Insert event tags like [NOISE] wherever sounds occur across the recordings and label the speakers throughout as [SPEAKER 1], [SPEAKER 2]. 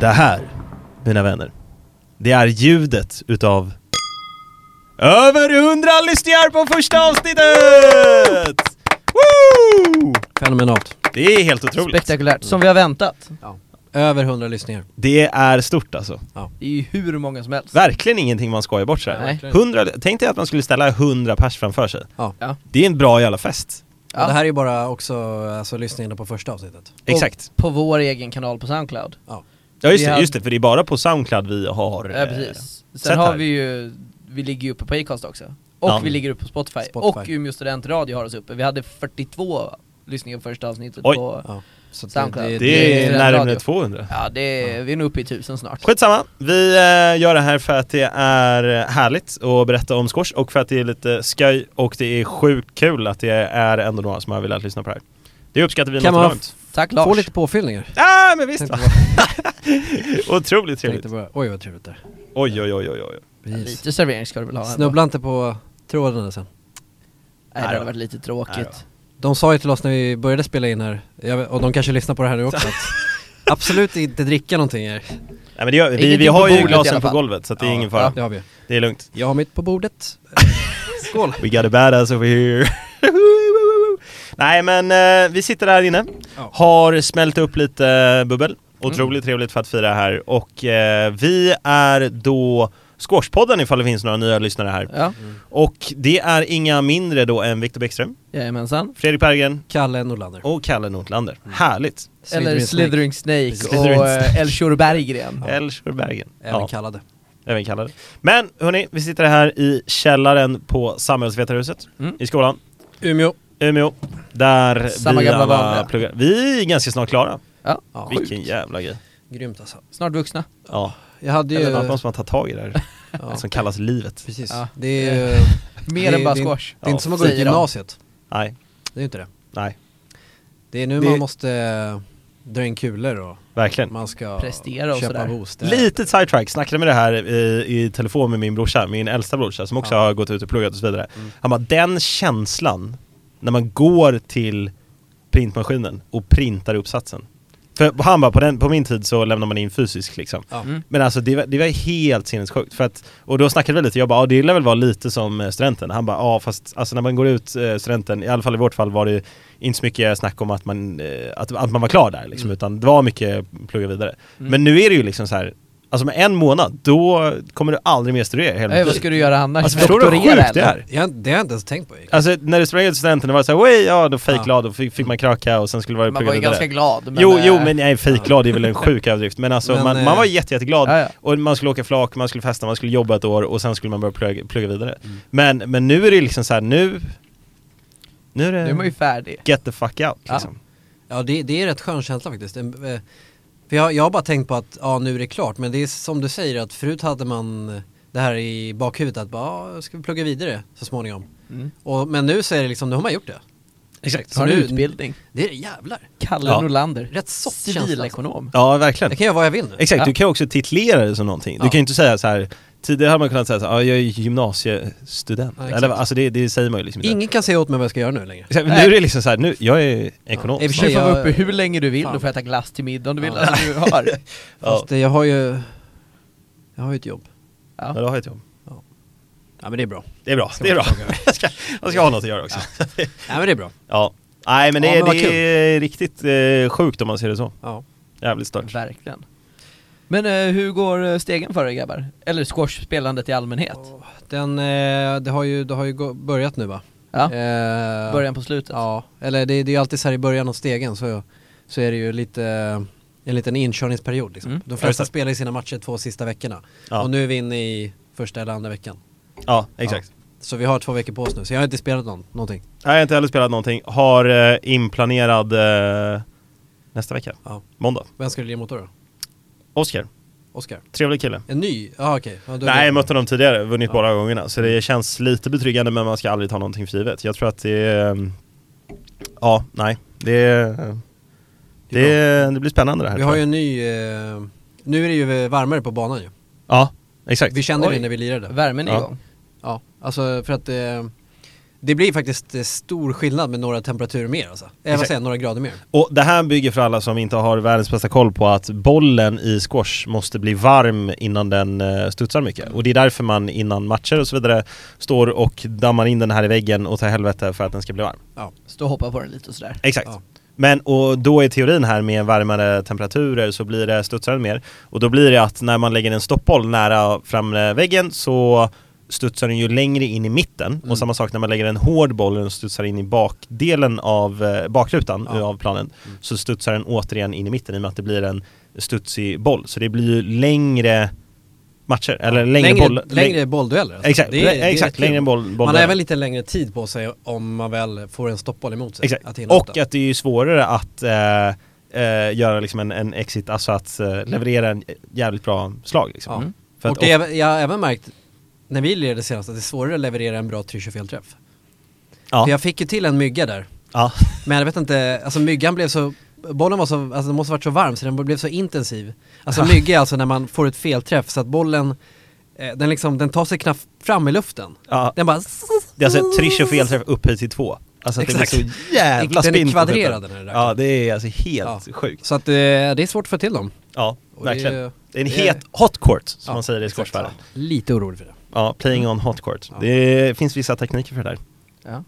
[SPEAKER 1] Det här, mina vänner, det är ljudet utav över hundra lyssningar på första avsnittet! Woo!
[SPEAKER 2] Fenomenalt.
[SPEAKER 1] Det är helt otroligt.
[SPEAKER 3] Spektakulärt, som vi har väntat.
[SPEAKER 2] Över 100 lyssningar.
[SPEAKER 1] Det är stort alltså.
[SPEAKER 3] Det är ju hur många som helst.
[SPEAKER 1] Verkligen ingenting man skojar bort sådär.
[SPEAKER 3] Nej.
[SPEAKER 1] 100, tänk dig att man skulle ställa 100 pers framför sig.
[SPEAKER 2] Ja.
[SPEAKER 3] Ja.
[SPEAKER 1] Det är en bra jävla fest.
[SPEAKER 2] Och det här är ju bara också alltså, lyssningarna på första avsnittet.
[SPEAKER 1] Exakt.
[SPEAKER 3] På vår egen kanal på Soundcloud.
[SPEAKER 1] Ja just
[SPEAKER 3] vi
[SPEAKER 1] det,
[SPEAKER 3] hade-
[SPEAKER 1] just det, för det är bara på Soundcloud vi har...
[SPEAKER 3] Ja,
[SPEAKER 1] eh,
[SPEAKER 3] precis.
[SPEAKER 1] sett
[SPEAKER 3] Sen har
[SPEAKER 1] här.
[SPEAKER 3] vi ju, vi ligger ju uppe på Acast också. Och
[SPEAKER 1] Ja.
[SPEAKER 3] vi ligger uppe på Spotify.
[SPEAKER 2] Spotify.
[SPEAKER 3] Och Umeå studentradio har oss uppe. Vi hade 42 lyssningar på första avsnittet
[SPEAKER 1] Oj.
[SPEAKER 3] på...
[SPEAKER 2] Ja. Så att
[SPEAKER 3] Soundcloud.
[SPEAKER 1] Det är
[SPEAKER 3] Det är
[SPEAKER 1] närmare
[SPEAKER 3] radio.
[SPEAKER 1] 200.
[SPEAKER 3] Ja, det är, vi är nog uppe i tusen snart.
[SPEAKER 1] Skitsamma, vi eh, gör det här för att det är härligt att berätta om squash och för att det är lite skoj och det är sjukt kul att det är ändå några som har velat lyssna på det här. Det uppskattar vi
[SPEAKER 2] Kan
[SPEAKER 1] något
[SPEAKER 2] man
[SPEAKER 1] enormt.
[SPEAKER 3] Tack
[SPEAKER 2] Få
[SPEAKER 3] Lars.
[SPEAKER 2] lite påfyllningar.
[SPEAKER 1] Ja men visst
[SPEAKER 2] Tänkte
[SPEAKER 1] va? [LAUGHS]
[SPEAKER 2] bara,
[SPEAKER 1] Otroligt trevligt.
[SPEAKER 2] tänkte bara, oj vad trevligt där.
[SPEAKER 1] Oj oj oj oj oj.
[SPEAKER 3] Lite servering ska du väl ha? ändå?
[SPEAKER 2] Snubbla inte på trådarna sen.
[SPEAKER 3] Nej, det hade varit lite tråkigt.
[SPEAKER 2] De sa ju till oss när vi började spela in här, jag vet, och de kanske lyssnar på det här nu också, att absolut inte dricka någonting här.
[SPEAKER 1] Nej men det gör, vi. vi, vi
[SPEAKER 3] Ingenting
[SPEAKER 1] har
[SPEAKER 3] på
[SPEAKER 1] ju
[SPEAKER 3] bordet i
[SPEAKER 1] glasen
[SPEAKER 3] alla
[SPEAKER 1] på
[SPEAKER 3] fall.
[SPEAKER 1] golvet så att det är
[SPEAKER 2] Ja,
[SPEAKER 1] ingen fara.
[SPEAKER 2] Det har vi.
[SPEAKER 1] Det är lugnt.
[SPEAKER 2] Jag har mitt på bordet. Skål!
[SPEAKER 1] We got a badass over here. [LAUGHS] Nej men eh, vi sitter här inne,
[SPEAKER 2] Ja.
[SPEAKER 1] har smält upp lite eh, bubbel. Otroligt trevligt för att fira här och eh, vi är då Squashpodden ifall det finns några nya lyssnare här.
[SPEAKER 3] Ja,
[SPEAKER 1] Och det är inga mindre då än Viktor Bäckström,
[SPEAKER 3] jajamensan.
[SPEAKER 1] Fredrik Berggren
[SPEAKER 2] Kalle Norlander.
[SPEAKER 1] och Kalle Nordlander. Härligt!
[SPEAKER 3] Eller
[SPEAKER 2] Snake.
[SPEAKER 3] Slithering Snake
[SPEAKER 1] Slytherin
[SPEAKER 3] och eh, Elshore Berggren.
[SPEAKER 1] Ja. Elshor Berggren.
[SPEAKER 2] Även
[SPEAKER 1] Ja,
[SPEAKER 2] kallade.
[SPEAKER 1] även kallade. Men hörni, vi sitter här i källaren på Samhällsvetarhuset
[SPEAKER 3] Mm.
[SPEAKER 1] i skolan.
[SPEAKER 2] Umeå.
[SPEAKER 1] Umeå, där
[SPEAKER 3] Samma
[SPEAKER 1] vi
[SPEAKER 3] gamla
[SPEAKER 1] alla
[SPEAKER 3] vanliga.
[SPEAKER 1] pluggar. Vi är ganska snart klara.
[SPEAKER 3] Ja,
[SPEAKER 2] Ja.
[SPEAKER 3] Sjukt.
[SPEAKER 1] Vilken jävla grej.
[SPEAKER 2] Grymt alltså.
[SPEAKER 3] snart vuxna.
[SPEAKER 1] Ja,
[SPEAKER 2] Jag hade
[SPEAKER 1] det
[SPEAKER 2] ju...
[SPEAKER 1] är något någon som har tagit tag i det här
[SPEAKER 2] Ja,
[SPEAKER 1] som kallas livet.
[SPEAKER 2] precis.
[SPEAKER 3] Ja. Eh,
[SPEAKER 2] Det är ju...
[SPEAKER 3] Mer
[SPEAKER 2] det-
[SPEAKER 3] än bara
[SPEAKER 2] det-
[SPEAKER 3] squash.
[SPEAKER 2] Det är inte som att gå
[SPEAKER 3] säger
[SPEAKER 2] ut
[SPEAKER 3] de.
[SPEAKER 2] gymnasiet.
[SPEAKER 1] Nej,
[SPEAKER 2] Det är ju inte det.
[SPEAKER 1] nej,
[SPEAKER 2] Det är nu
[SPEAKER 1] Det-
[SPEAKER 2] man måste eh, dra in kulor och
[SPEAKER 1] verkligen.
[SPEAKER 2] man ska
[SPEAKER 3] Prestera och
[SPEAKER 2] köpa
[SPEAKER 3] sådär.
[SPEAKER 2] bostad.
[SPEAKER 1] Litet sidetrack, snackade med det här i, i telefon med min brorsa, min äldsta brorsa som också
[SPEAKER 2] Ja.
[SPEAKER 1] har gått ut och pluggat och så vidare. Han bara, den känslan när man går till printmaskinen och printar uppsatsen. För han bara, på, den, på min tid så lämnade man in fysisk liksom.
[SPEAKER 2] Ja.
[SPEAKER 3] Mm.
[SPEAKER 1] Men alltså det var, det var helt sinnessjukt för att, och då snackade vi lite, jag bara ja det lär väl vara lite som eh, studenten, han bara ja fast alltså när man går ut eh, studenten, i alla fall i vårt fall var det inte så mycket snack om att man, eh, att, att man var klar där liksom,
[SPEAKER 2] Mm.
[SPEAKER 1] utan det var mycket plugga vidare.
[SPEAKER 3] Mm.
[SPEAKER 1] Men nu är det ju liksom så här, alltså med en månad, då kommer du aldrig mer studera hela
[SPEAKER 3] Nej,
[SPEAKER 1] ditt
[SPEAKER 3] vad
[SPEAKER 1] liv.
[SPEAKER 3] ska du göra annars?
[SPEAKER 1] Alltså förstår du hur
[SPEAKER 3] Doktorera,
[SPEAKER 1] sjukt det
[SPEAKER 3] eller?
[SPEAKER 1] är?
[SPEAKER 2] Jag, det har jag inte ens tänkt på egentligen.
[SPEAKER 1] Alltså när du sprang ut studenten, det var det såhär "Oj, ja då fejkglad, och fick, fick man kraka och sen skulle det vara
[SPEAKER 3] Man var
[SPEAKER 1] plugga
[SPEAKER 3] ju
[SPEAKER 1] vidare.
[SPEAKER 3] ganska glad. Men
[SPEAKER 1] jo,
[SPEAKER 3] eh,
[SPEAKER 1] jo men nej fejkglad är väl en sjuk överdrift, men alltså
[SPEAKER 2] Men,
[SPEAKER 1] man,
[SPEAKER 2] eh,
[SPEAKER 1] man var jätte, jätteglad
[SPEAKER 3] ja, ja.
[SPEAKER 1] och man skulle åka flak, man skulle festa, man skulle jobba ett år och sen skulle man börja plugga, plugga vidare.
[SPEAKER 2] Mm.
[SPEAKER 1] Men, men nu är det liksom så här, nu... Nu är det
[SPEAKER 3] Nu är man ju färdig.
[SPEAKER 1] get the fuck out
[SPEAKER 3] Ja.
[SPEAKER 1] liksom.
[SPEAKER 2] Ja det, det är rätt skön känsla faktiskt. En, eh, För jag, jag har bara tänkt på att ja, nu är det klart men det är som du säger att förut hade man eh, det här i bakhuvudet att bara ja, ska vi plugga vidare så småningom.
[SPEAKER 3] Mm.
[SPEAKER 2] Och, men nu så är det liksom, nu har man gjort det.
[SPEAKER 1] Exakt.
[SPEAKER 2] Så
[SPEAKER 3] Har du
[SPEAKER 2] nu-
[SPEAKER 3] utbildning?
[SPEAKER 2] Det är jävlar.
[SPEAKER 3] Kalle
[SPEAKER 1] Ja.
[SPEAKER 3] Norlander.
[SPEAKER 2] Rätt soft känsla.
[SPEAKER 3] Civilekonom.
[SPEAKER 1] Ja, verkligen.
[SPEAKER 2] Jag kan göra vad jag vill nu.
[SPEAKER 1] Exakt,
[SPEAKER 3] Ja.
[SPEAKER 1] du kan ju också titlera det som någonting. Du
[SPEAKER 2] Ja.
[SPEAKER 1] kan ju inte säga så här. tidigare hade man kunnat säga så här, "Ja, jag är gymnasiestudent.
[SPEAKER 2] Ja, exakt.
[SPEAKER 1] Eller alltså det, det säger man ju liksom inte.
[SPEAKER 2] Ingen kan säga åt mig vad jag ska göra nu längre.
[SPEAKER 1] Exakt, men nu är det liksom så här, nu, jag är ekonom.
[SPEAKER 2] Ja, i och
[SPEAKER 3] Du
[SPEAKER 2] för
[SPEAKER 3] får
[SPEAKER 2] sig,
[SPEAKER 3] vara
[SPEAKER 2] jag-
[SPEAKER 3] uppe hur länge du vill,
[SPEAKER 2] Fan.
[SPEAKER 3] du får äta glass till middag om du vill.
[SPEAKER 2] Ja.
[SPEAKER 3] Alltså, du
[SPEAKER 1] [LAUGHS]
[SPEAKER 3] har.
[SPEAKER 1] Ja.
[SPEAKER 2] Fast eh, jag har ju, jag har ju ett jobb.
[SPEAKER 1] Ja, då har jag ett jobb.
[SPEAKER 2] Ja men det är bra.
[SPEAKER 1] Det är bra, det är bra. [LAUGHS] Jag ska, jag ska ha något att göra också. Ja. [LAUGHS]
[SPEAKER 2] Ja men det är bra.
[SPEAKER 1] Nej men det,
[SPEAKER 2] Ja,
[SPEAKER 1] är-
[SPEAKER 2] men vad
[SPEAKER 1] det är riktigt eh, sjukt om man ser det så.
[SPEAKER 2] Ja.
[SPEAKER 1] Jävligt stört.
[SPEAKER 3] Verkligen. Men eh, hur går eh, stegen för er grabbar? Eller squash-spelandet i allmänhet?
[SPEAKER 2] Den, eh, det har ju, det har ju gå- börjat nu va?
[SPEAKER 3] Ja,
[SPEAKER 2] Eh,
[SPEAKER 3] början på slutet.
[SPEAKER 2] Ja, eller det, det är ju alltid så här i början av stegen så, så är det ju lite en liten inkörningsperiod liksom.
[SPEAKER 3] Mm.
[SPEAKER 2] De
[SPEAKER 1] Ja, just
[SPEAKER 2] flesta
[SPEAKER 1] det.
[SPEAKER 2] spelar ju sina matcher två sista veckorna
[SPEAKER 1] Ja.
[SPEAKER 2] och nu är vi inne i första eller andra veckan.
[SPEAKER 1] Ja, exakt.
[SPEAKER 2] Så vi har två veckor på oss nu, så jag har inte spelat någon, någonting.
[SPEAKER 1] Nej, Jag har inte heller spelat någonting. Har eh, inplanerad eh, nästa vecka.
[SPEAKER 2] Ja.
[SPEAKER 1] Måndag.
[SPEAKER 2] Vem ska du lira mot då? då?
[SPEAKER 1] Oscar.
[SPEAKER 2] Oscar?
[SPEAKER 1] Trevlig kille.
[SPEAKER 2] En ny? Ja okej. Ja, då är
[SPEAKER 1] Nej,
[SPEAKER 2] det-
[SPEAKER 1] jag mött honom tidigare, vunnit
[SPEAKER 2] Ja.
[SPEAKER 1] båda gångerna. Så det känns lite betryggande men man ska aldrig ta någonting för givet. Jag tror att det är... ehm, Ja, nej. Det är... Det, är- det blir spännande det här.
[SPEAKER 2] Vi
[SPEAKER 1] tror
[SPEAKER 2] har ju
[SPEAKER 1] jag.
[SPEAKER 2] en ny, eh, nu är det ju varmare på banan ju.
[SPEAKER 1] Ja, exakt.
[SPEAKER 2] Vi kände
[SPEAKER 3] Oj.
[SPEAKER 2] det när vi lirade.
[SPEAKER 3] Värmen är
[SPEAKER 1] Ja.
[SPEAKER 3] igång.
[SPEAKER 2] Ja, alltså för att eh, Det blir faktiskt eh, stor skillnad med några temperaturer mer alltså. Eh, vad
[SPEAKER 1] Exakt.
[SPEAKER 2] säger jag, några grader mer.
[SPEAKER 1] Och det här bygger för alla som inte har världens bästa koll på att bollen i squash måste bli varm innan den eh, studsar mycket. Och det är därför man innan matcher och så vidare står och dammar in den här i väggen och tar helvete för att den ska bli varm.
[SPEAKER 2] Ja.
[SPEAKER 3] Stå och hoppa på den lite och sådär.
[SPEAKER 1] Exakt.
[SPEAKER 2] Ja.
[SPEAKER 1] Men och då är teorin här med varmare temperaturer så blir det studsar den mer. Och då blir det att när man lägger en stoppboll nära framre väggen så studsar den ju längre in i mitten.
[SPEAKER 2] Mm.
[SPEAKER 1] Och samma sak när man lägger en hård boll och den studsar in i bakdelen av eh, bakrutan
[SPEAKER 2] Ja.
[SPEAKER 1] av planen
[SPEAKER 2] Mm.
[SPEAKER 1] så studsar den återigen in i mitten i och med att det blir en studsig boll. Så det blir ju längre matcher, eller längre,
[SPEAKER 2] längre,
[SPEAKER 1] boll.
[SPEAKER 2] längre bolldueller. alltså.
[SPEAKER 1] Exakt,
[SPEAKER 2] Det är- det är
[SPEAKER 1] exakt
[SPEAKER 2] kul.
[SPEAKER 1] längre boll, boll
[SPEAKER 2] Man har även lite längre tid på sig om man väl får en stoppboll emot sig.
[SPEAKER 1] Exakt.
[SPEAKER 2] eh, hinna ut
[SPEAKER 1] och
[SPEAKER 2] den.
[SPEAKER 1] att det är ju svårare att eh, eh, göra liksom en, en exit, alltså att eh, leverera en jävligt bra slag liksom.
[SPEAKER 2] Mm. Ja.
[SPEAKER 1] För
[SPEAKER 2] och
[SPEAKER 1] att,
[SPEAKER 2] det är, jag har även märkt när vi lirade senast att det är svårare att leverera en bra 3 träff
[SPEAKER 1] ja,
[SPEAKER 2] För jag fick ju till en mygga där.
[SPEAKER 1] ja,
[SPEAKER 2] Men jag vet inte, alltså myggan blev så, bollen var så, alltså den måste varit så varm så den blev så intensiv. Alltså mygga är alltså när man får ett felträff så att bollen, eh, den liksom, den tar sig knappt fram i luften.
[SPEAKER 1] ja.
[SPEAKER 2] Den bara
[SPEAKER 1] Det är alltså trish och felträff upphöjt till två. Alltså att
[SPEAKER 2] Exakt.
[SPEAKER 1] det blir så jävla
[SPEAKER 2] Den är
[SPEAKER 1] spinn på skiten.
[SPEAKER 2] kvadrerad, den här racketen.
[SPEAKER 1] Ja, det är alltså helt
[SPEAKER 2] Ja.
[SPEAKER 1] sjukt.
[SPEAKER 2] Så att eh, det är svårt att få till dem.
[SPEAKER 1] Ja,
[SPEAKER 2] Och det är-
[SPEAKER 1] verkligen. Det, är en
[SPEAKER 2] det är-
[SPEAKER 1] het hot court, som
[SPEAKER 2] Ja,
[SPEAKER 1] man säger i
[SPEAKER 2] exakt.
[SPEAKER 1] squashvärlden.
[SPEAKER 2] Ja, Lite orolig för det.
[SPEAKER 1] Ja, playing on hot court.
[SPEAKER 2] Ja.
[SPEAKER 1] Det finns vissa tekniker för det där.
[SPEAKER 3] Ja.